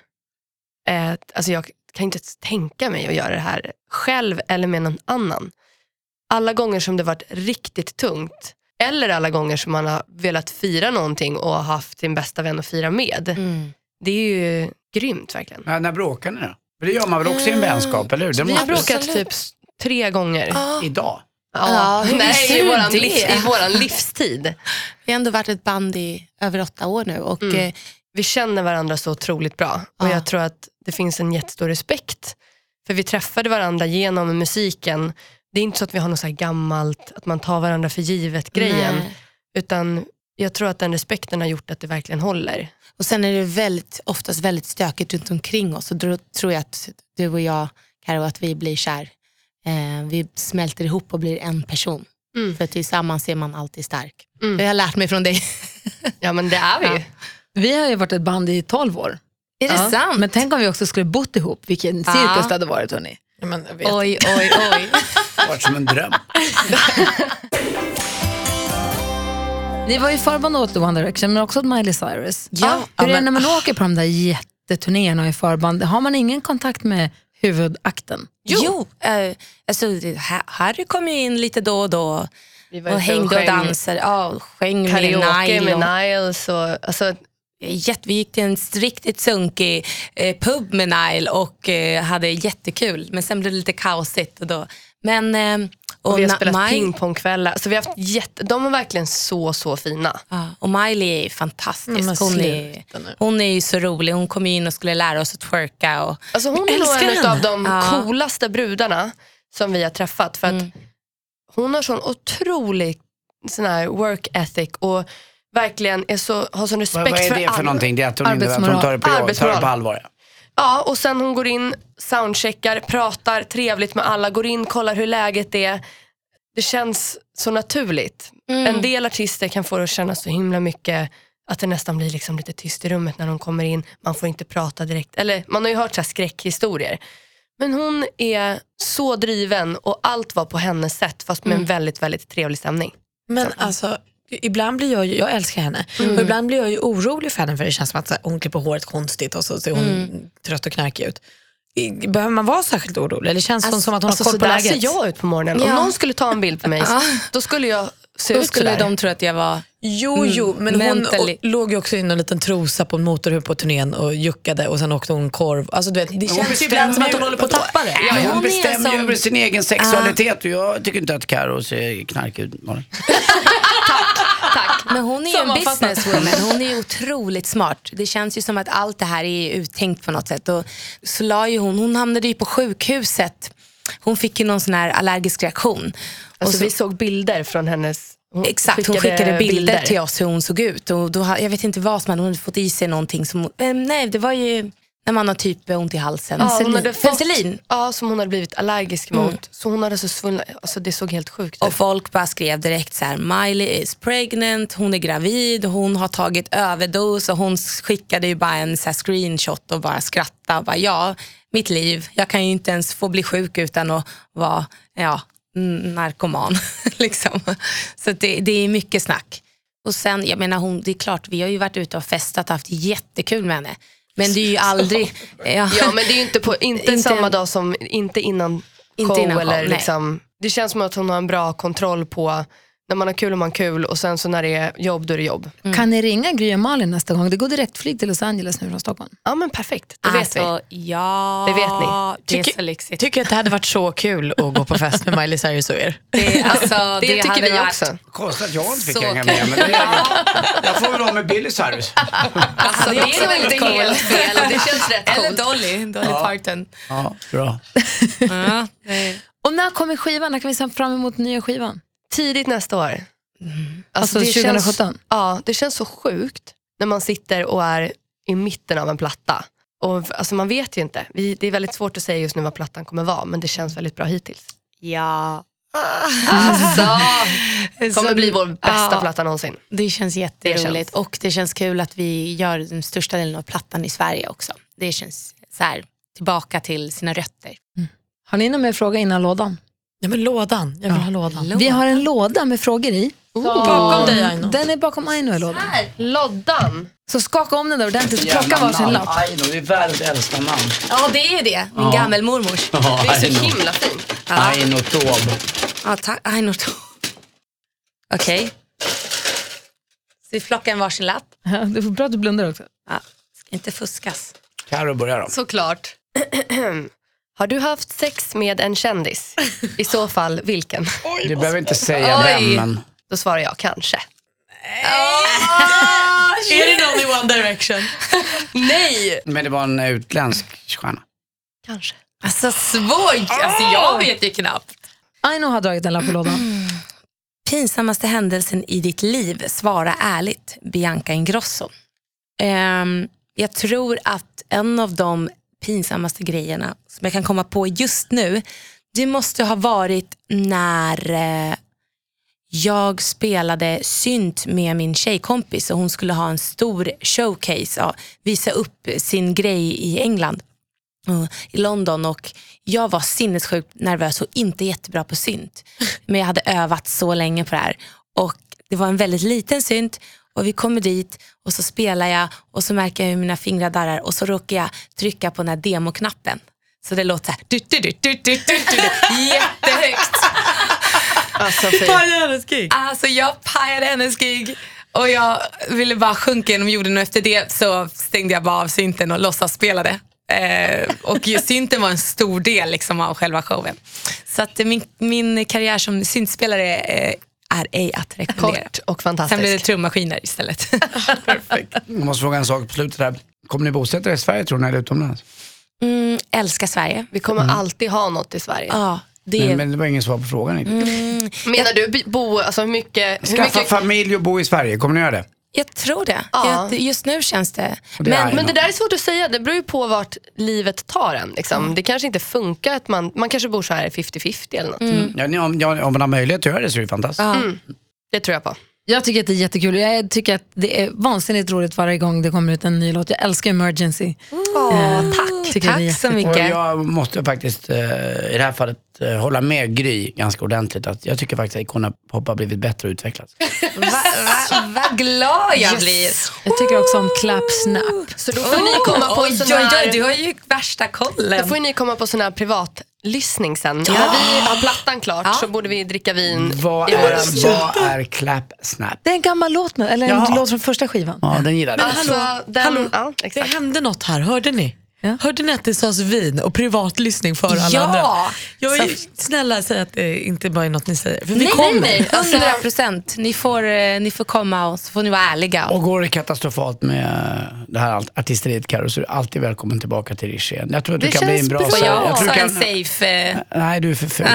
[SPEAKER 6] Eh, alltså jag kan inte ens tänka mig att göra det här själv eller med någon annan. Alla gånger som det varit riktigt tungt eller alla gånger som man har velat fira någonting och haft sin bästa vän att fira med. Det är ju grymt verkligen.
[SPEAKER 4] Ja, när bråkar ni då? För det gör man väl också i en vänskap, eller hur? Det
[SPEAKER 6] Vi har
[SPEAKER 4] måste-
[SPEAKER 6] bråkat typ s- tre gånger.
[SPEAKER 4] Idag.
[SPEAKER 7] Ja, hur
[SPEAKER 6] Nej,
[SPEAKER 7] visste
[SPEAKER 6] i
[SPEAKER 7] du
[SPEAKER 6] våran,
[SPEAKER 7] det?
[SPEAKER 6] livs, i våran livstid.
[SPEAKER 7] Vi har ändå varit ett band i över åtta år nu och
[SPEAKER 6] Mm.
[SPEAKER 7] eh,
[SPEAKER 6] Vi känner varandra så otroligt bra och
[SPEAKER 7] Ja.
[SPEAKER 6] jag tror att det finns en jättestor respekt. För vi träffade varandra genom musiken. Det är inte så att vi har något så här gammalt, att man tar varandra för givet grejen.
[SPEAKER 7] Nej.
[SPEAKER 6] Utan jag tror att den respekten har gjort att det verkligen håller.
[SPEAKER 7] Och sen är det väldigt, oftast väldigt stökigt runt omkring oss och då tror jag att du och jag, Karo, att vi blir kär. Eh, vi smälter ihop och blir en person.
[SPEAKER 6] Mm.
[SPEAKER 7] För tillsammans är man alltid stark.
[SPEAKER 6] Mm.
[SPEAKER 7] Det har jag lärt mig från dig.
[SPEAKER 6] Ja men det är vi ju.
[SPEAKER 1] Vi har ju varit ett band i 12 år.
[SPEAKER 7] Är det
[SPEAKER 1] Ja.
[SPEAKER 7] sant?
[SPEAKER 1] Men tänk om vi också skulle bott ihop, vilken cirkus
[SPEAKER 7] Ja.
[SPEAKER 1] det hade varit hörni.
[SPEAKER 2] Ja, men jag vet.
[SPEAKER 7] Oj, oj, oj.
[SPEAKER 4] Det var som en dröm.
[SPEAKER 1] Ni var ju förband åt The One Direction men också åt Miley Cyrus.
[SPEAKER 7] Ja,
[SPEAKER 1] Hur
[SPEAKER 7] ja,
[SPEAKER 1] är det
[SPEAKER 7] men-
[SPEAKER 1] när man åker på de där jätteturnéerna i förband? Har man ingen kontakt med huvudakten? Mm.
[SPEAKER 7] jo, eh, alltså, det- Ha- Harry kom ju in lite då och då
[SPEAKER 6] Vi var
[SPEAKER 7] och
[SPEAKER 6] ute
[SPEAKER 7] hängde och
[SPEAKER 6] sjöng
[SPEAKER 7] dansade. Ja, och sjöng med
[SPEAKER 6] Karaoke
[SPEAKER 7] Nile.
[SPEAKER 6] med
[SPEAKER 7] och-
[SPEAKER 6] Niles. Och, alltså,
[SPEAKER 7] Jätte, vi gick till en riktigt sunkig eh, pub med Nile och eh, hade jättekul. Men sen blev det lite kaosigt. Och då. Men, eh, och
[SPEAKER 6] och vi har
[SPEAKER 7] Na-
[SPEAKER 6] spelat
[SPEAKER 7] Mile-
[SPEAKER 6] pingpongkvällar. Alltså, vi har haft jätte, de var verkligen så, så fina.
[SPEAKER 7] Ja, och Miley är fantastisk.
[SPEAKER 6] Mm,
[SPEAKER 2] Nej, men
[SPEAKER 7] hon, är,
[SPEAKER 2] sluta nu.
[SPEAKER 7] hon är ju så rolig. Hon kom in och skulle lära oss att twerka. Och,
[SPEAKER 6] Alltså hon är
[SPEAKER 1] älskar
[SPEAKER 6] nog en
[SPEAKER 1] henne.
[SPEAKER 6] av de
[SPEAKER 7] Ja. Mm.
[SPEAKER 6] coolaste brudarna som vi har träffat. För att
[SPEAKER 1] Mm.
[SPEAKER 6] Hon har sån otrolig sån här work ethic och verkligen är så, har sån
[SPEAKER 4] Vad,
[SPEAKER 6] respekt
[SPEAKER 4] vad är det för
[SPEAKER 6] alla.
[SPEAKER 4] någonting? Det är att hon, inte, att hon
[SPEAKER 1] Arbetsmoral.
[SPEAKER 4] tar det på, tar det
[SPEAKER 6] Arbetsmoral.
[SPEAKER 4] på allvar. ja.
[SPEAKER 6] Ja, och sen hon går in, soundcheckar, pratar trevligt med alla, går in, kollar hur läget är. Det känns så naturligt.
[SPEAKER 7] Mm.
[SPEAKER 6] En del artister kan få det att känna så himla mycket att det nästan blir liksom lite tyst i rummet när de kommer in. Man får inte prata direkt. Eller man har ju hört så här skräckhistorier. Men hon är så driven och allt var på hennes sätt fast
[SPEAKER 7] Mm.
[SPEAKER 6] med en väldigt, väldigt trevlig stämning.
[SPEAKER 2] Men alltså, ibland blir jag ju, jag älskar henne,
[SPEAKER 1] Mm.
[SPEAKER 2] och ibland blir jag ju orolig för henne för det känns som att så här, hon klipper håret konstigt och så ser hon
[SPEAKER 1] Mm.
[SPEAKER 2] trött och knarkig ut. I- Behöver man vara särskilt orolig eller känns hon
[SPEAKER 7] Alltså,
[SPEAKER 2] som att hon
[SPEAKER 6] Alltså,
[SPEAKER 2] har
[SPEAKER 6] så
[SPEAKER 2] koll på
[SPEAKER 6] där
[SPEAKER 2] läget?
[SPEAKER 6] ser jag ut på morgonen. Om
[SPEAKER 7] Ja.
[SPEAKER 6] någon skulle ta en bild på mig då skulle jag se
[SPEAKER 7] då
[SPEAKER 6] ut
[SPEAKER 7] skulle
[SPEAKER 6] sådär.
[SPEAKER 7] de tro att jag var...
[SPEAKER 2] Jo,
[SPEAKER 1] Mm.
[SPEAKER 2] jo, men hon
[SPEAKER 7] mentally.
[SPEAKER 2] och, låg ju också i någon liten trosa på en motorhuv på turnén och juckade och sen åkte hon korv. Alltså, du vet, det känns ju ibland som att hon håller på att tappa det.
[SPEAKER 4] Ja, hon
[SPEAKER 7] hon är
[SPEAKER 4] bestämmer ju
[SPEAKER 7] som-
[SPEAKER 4] över sin
[SPEAKER 6] Ah.
[SPEAKER 4] egen sexualitet och jag tycker inte att Karo ser knarkig ut. Malin.
[SPEAKER 7] Men hon är ju en businesswoman. Hon är ju otroligt smart. Det känns ju som att allt det här är uttänkt på något sätt. Och så la ju hon, hon hamnade ju på sjukhuset. Hon fick ju någon sån här allergisk reaktion.
[SPEAKER 6] Alltså,
[SPEAKER 7] och så,
[SPEAKER 6] vi såg bilder från hennes... hon
[SPEAKER 7] Exakt, hon skickade bilder, till oss hur hon såg ut. Och då, ha- jag vet inte vad som hade, hon hade fått i sig någonting. Som, eh, nej, det var ju när man har typ ont i halsen.
[SPEAKER 6] Ja, hon hade fått,
[SPEAKER 7] Penicillin. Mm.
[SPEAKER 6] ja, som hon hade blivit allergisk mot. Så hon hade så svullna, alltså det såg helt sjukt
[SPEAKER 7] Och
[SPEAKER 6] ut.
[SPEAKER 7] folk bara skrev direkt så här, Miley is pregnant, hon är gravid, hon har tagit överdos och hon skickade ju bara en så här screenshot och bara skrattade och bara ja, mitt liv, jag kan ju inte ens få bli sjuk utan att vara ja, n- narkoman. liksom. Så att det, det är mycket snack. Och sen, jag menar hon, det är klart, vi har ju varit ute och festat och haft jättekul med henne. Men det är ju aldrig... Ja.
[SPEAKER 6] Ja men det är ju inte, på, inte,
[SPEAKER 7] Inte-
[SPEAKER 6] samma dag som, inte innan
[SPEAKER 7] Inte
[SPEAKER 6] show
[SPEAKER 7] innan show,
[SPEAKER 6] eller
[SPEAKER 7] nej.
[SPEAKER 6] liksom. Det känns som att hon har en bra kontroll på när man har kul och man har kul och sen så när det är jobb då är det jobb.
[SPEAKER 1] Kan ni ringa Gry och Malin nästa gång? Det går direktflyg till Los Angeles nu från Stockholm.
[SPEAKER 6] Ja men perfekt, det vet vi.
[SPEAKER 7] alltså, ja,
[SPEAKER 6] Det vet ni.
[SPEAKER 7] Det är
[SPEAKER 2] Tycker-
[SPEAKER 7] så lyxigt.
[SPEAKER 2] Tycker att det hade varit så kul att gå på fest med Miley Cyrus och er.
[SPEAKER 7] Det, alltså,
[SPEAKER 6] Det, tycker
[SPEAKER 7] hade
[SPEAKER 6] vi
[SPEAKER 7] varit-
[SPEAKER 6] också.
[SPEAKER 4] Konstigt att jag inte fick
[SPEAKER 7] Så
[SPEAKER 4] hänga med. Men det är, jag får väl vara med Billy Cyrus.
[SPEAKER 7] Alltså, det är nog inte helt fel.
[SPEAKER 6] Det känns rätt
[SPEAKER 7] Eller
[SPEAKER 6] coolt.
[SPEAKER 7] Dolly, Dolly Parton.
[SPEAKER 4] Ja, bra.
[SPEAKER 7] Ja.
[SPEAKER 6] Mm.
[SPEAKER 1] Och när kommer skivan? När kan vi se fram emot nya skivan?
[SPEAKER 6] Tidigt nästa år.
[SPEAKER 7] Mm.
[SPEAKER 1] Alltså,
[SPEAKER 6] det känns-
[SPEAKER 1] 2017?
[SPEAKER 6] Ja, det känns så sjukt när man sitter och är i mitten av en platta. Och, alltså, man vet ju inte. Vi, det är väldigt svårt att säga just nu vad plattan kommer vara, men det känns väldigt bra hittills.
[SPEAKER 7] ja.
[SPEAKER 6] Alltså, kommer
[SPEAKER 7] Så-
[SPEAKER 6] bli vår bästa
[SPEAKER 7] Ja.
[SPEAKER 6] platta någonsin.
[SPEAKER 7] Det känns jätteroligt
[SPEAKER 6] Det känns.
[SPEAKER 7] och det känns kul att vi gör den största delen av plattan i Sverige också. Det känns så här, tillbaka till sina rötter.
[SPEAKER 1] Har ni någon mer fråga innan lådan?
[SPEAKER 2] Ja, men lådan. Jag vill ha lådan.
[SPEAKER 1] Vi har en låda med frågor i.
[SPEAKER 2] Bakom dig, Aino.
[SPEAKER 1] Den är bakom Aino i lådan.
[SPEAKER 6] Loddan.
[SPEAKER 1] Så skaka om den där ordentligt. Plocka varsin lapp.
[SPEAKER 4] Aino, det är världens äldsta namn.
[SPEAKER 7] Ja, det är det. Min gammelmormors.
[SPEAKER 6] Det är så
[SPEAKER 4] Aino.
[SPEAKER 6] himla fint.
[SPEAKER 4] Aino Taube.
[SPEAKER 7] Ja, tack. Aj, något. Okej. Så vi plockar en varsin lapp.
[SPEAKER 1] Ja, Det är bra att du blundar också.
[SPEAKER 7] Ja. Ska inte fuskas.
[SPEAKER 4] Carro börjar då.
[SPEAKER 6] Såklart. har du haft sex med en kändis? I så fall vilken?
[SPEAKER 4] Du behöver inte säga vem, men...
[SPEAKER 6] Då svarar jag kanske.
[SPEAKER 2] Är det någon i One Direction?
[SPEAKER 6] Nej!
[SPEAKER 4] Men det var en eh, utländsk stjärna.
[SPEAKER 6] Kanske.
[SPEAKER 7] Alltså svårt. Alltså jag vet ju knappt.
[SPEAKER 1] Aino har dragit en lapp på lådan.
[SPEAKER 7] Pinsammaste händelsen i ditt liv? Svara ärligt. Bianca Ingrosso. Ehm, jag tror att en av de pinsammaste grejerna som jag kan komma på just nu, det måste ha varit när eh, jag spelade synt med min tjejkompis och hon skulle ha en stor showcase, ja, visa upp sin grej i England, eh, i London och jag var sinnessjukt nervös och inte jättebra på synt. Men jag hade övat så länge på det här och det var en väldigt liten synt och vi kommer dit och så spelar jag och så märker jag hur mina fingrar darrar och så råkar jag trycka på den här demoknappen. Så det låter så här, du, du, du, du, du, du, du, du, jättehögt.
[SPEAKER 2] Alltså, fy.
[SPEAKER 7] Alltså jag pajade hennes gig och jag ville bara sjunka genom jorden och efter det så stängde jag bara av synten och låtsasspelade. Eh, och ju synten var en stor del liksom av själva showen. Så att eh, min, min karriär som syntspelare eh, är ej att rekommendera.
[SPEAKER 6] Kort och
[SPEAKER 7] Sen blev det
[SPEAKER 6] fantastisk.
[SPEAKER 7] trummaskiner istället.
[SPEAKER 4] Jag måste fråga en sak på slutet här. Kommer ni bosätta er i Sverige tror ni, eller utomlands?
[SPEAKER 7] Mm, älskar Sverige.
[SPEAKER 6] Vi kommer alltid ha något i Sverige.
[SPEAKER 7] Ja, det
[SPEAKER 4] Nej,
[SPEAKER 7] är
[SPEAKER 4] men det var ingen svar på frågan riktigt.
[SPEAKER 6] Menar du by- bo, alltså hur mycket, hur
[SPEAKER 4] Skaffa
[SPEAKER 6] mycket
[SPEAKER 4] familj och bo i Sverige, kommer ni göra det?
[SPEAKER 7] Jag tror det.
[SPEAKER 6] Ja.
[SPEAKER 7] Jag, just nu känns det.
[SPEAKER 4] det
[SPEAKER 7] men,
[SPEAKER 4] är-
[SPEAKER 6] Men det där är svårt att säga, det beror ju på vart livet tar en. Liksom. Det kanske inte funkar, att man, man kanske bor så här 50-50 eller något.
[SPEAKER 4] Ja, ni- om, ja, om man har möjlighet att göra det så är det fantastiskt.
[SPEAKER 6] Det tror jag på.
[SPEAKER 1] Jag tycker att det är jättekul. Jag tycker att det är vansinnigt roligt varje gång det kommer ut en ny låt. Jag älskar Emergency.
[SPEAKER 7] Åh, tack.
[SPEAKER 1] Tycker vi är
[SPEAKER 7] Tack så
[SPEAKER 4] Och
[SPEAKER 7] mycket.
[SPEAKER 4] jag måste faktiskt eh, i det här fallet eh, hålla med Gry ganska ordentligt. Att jag tycker faktiskt att Icona Pop har blivit bättre och utvecklats.
[SPEAKER 7] Vad va, va glad jag blir.
[SPEAKER 1] Jag tycker också om Clap Snap.
[SPEAKER 6] Så då får ni komma på
[SPEAKER 7] Oj,
[SPEAKER 6] sån
[SPEAKER 7] oj,
[SPEAKER 6] här...
[SPEAKER 7] oj, du har ju värsta
[SPEAKER 6] Då
[SPEAKER 7] kollen.
[SPEAKER 6] får ju ni komma på sån här privatlyssning sen. När vi har plattan klart så borde vi dricka vin.
[SPEAKER 4] Vad
[SPEAKER 6] Ja,
[SPEAKER 4] är,
[SPEAKER 6] absolut.
[SPEAKER 4] vad är Clap Snap?
[SPEAKER 1] Det är en gammal låt, med, eller en
[SPEAKER 4] Jaha.
[SPEAKER 1] låt från första skivan.
[SPEAKER 4] Ja, den gillade jag.
[SPEAKER 6] Alltså, den,
[SPEAKER 2] Hallå.
[SPEAKER 6] Ja,
[SPEAKER 2] Det
[SPEAKER 6] exakt.
[SPEAKER 2] hände något här, hörde ni? Hörde ni att det sades vin och privatlyssning för alla
[SPEAKER 7] Ja.
[SPEAKER 2] andra? Jag är, snälla säg att det inte bara är något ni säger. För vi
[SPEAKER 7] nej,
[SPEAKER 2] kommer. Alltså,
[SPEAKER 7] nej, nej. 100 procent. Ni, får, eh, ni får komma och så får ni vara ärliga.
[SPEAKER 4] Och går det katastrofalt med eh, det här allt- artisteriet Carro så är du alltid välkommen tillbaka till Rish igen. Jag tror att du
[SPEAKER 6] Det
[SPEAKER 4] kan bli en
[SPEAKER 6] känns
[SPEAKER 4] bra
[SPEAKER 6] bra.
[SPEAKER 7] får
[SPEAKER 4] Sverige.
[SPEAKER 7] jag
[SPEAKER 4] jag
[SPEAKER 7] också
[SPEAKER 4] tror du
[SPEAKER 7] en
[SPEAKER 4] kan...
[SPEAKER 7] safe... eh,
[SPEAKER 4] Nej, du är för ful.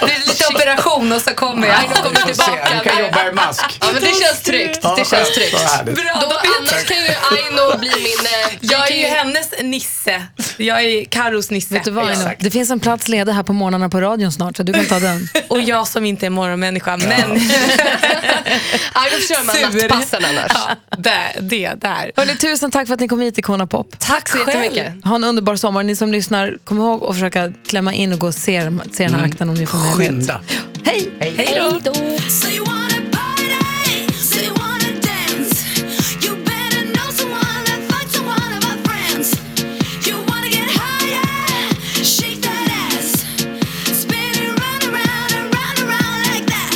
[SPEAKER 7] Det är lite operation och så kommer jag. Jag kommer
[SPEAKER 4] Vi får se.
[SPEAKER 7] tillbaka.
[SPEAKER 4] Du kan jobba i mask.
[SPEAKER 6] Ja, men det känns tryggt.
[SPEAKER 4] Ja,
[SPEAKER 6] Det känns tryggt.
[SPEAKER 4] vad härligt.
[SPEAKER 7] Bra,
[SPEAKER 6] Då,
[SPEAKER 7] då vet jag.
[SPEAKER 6] annars kan ju Aino bli min... eh, vi
[SPEAKER 7] Jag
[SPEAKER 6] kan
[SPEAKER 7] är ju hennes nisse. Jag är Karos nisse.
[SPEAKER 1] Vet du vad, Aino? Det finns en plats ledig här på morgnarna på radion snart, så du kan ta den.
[SPEAKER 7] Och jag som inte är morgonmänniska, men
[SPEAKER 6] Aino kör man
[SPEAKER 7] Sur.
[SPEAKER 6] nattpassen annars.
[SPEAKER 7] ja, där, det där.
[SPEAKER 1] Hörrni, tusen tack för att ni kom hit, Icona Pop.
[SPEAKER 7] Tack så
[SPEAKER 6] jättemycket.
[SPEAKER 1] Ha en underbar sommar. Ni som lyssnar, kom ihåg att försöka klämma in och gå och se, dem- se den här akten om ni får möjlighet.
[SPEAKER 4] Mm. Skynda.
[SPEAKER 1] Hej!
[SPEAKER 7] Hej då.
[SPEAKER 8] So you wanna party? So you wanna dance? You better know someone that fucked one of our friends. You wanna get higher? Shake that ass, spin it round and round and round and round like that.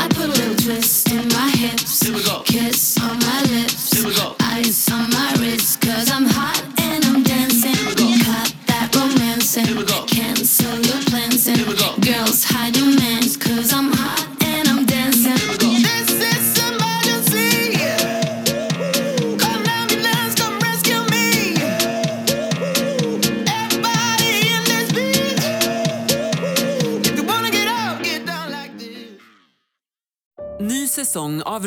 [SPEAKER 8] I put a little twist in my hips, kiss on my lips, ice on my wrist, 'cause I'm hot and I'm dancing. Cut that romancing, cancel your plans and girls hide your mans, 'cause I'm hot and I'm dancing. This is emergency. Come ambulance, come rescue me. Everybody in this bitch. If you wanna get out, get down like this.
[SPEAKER 9] Ny säsong av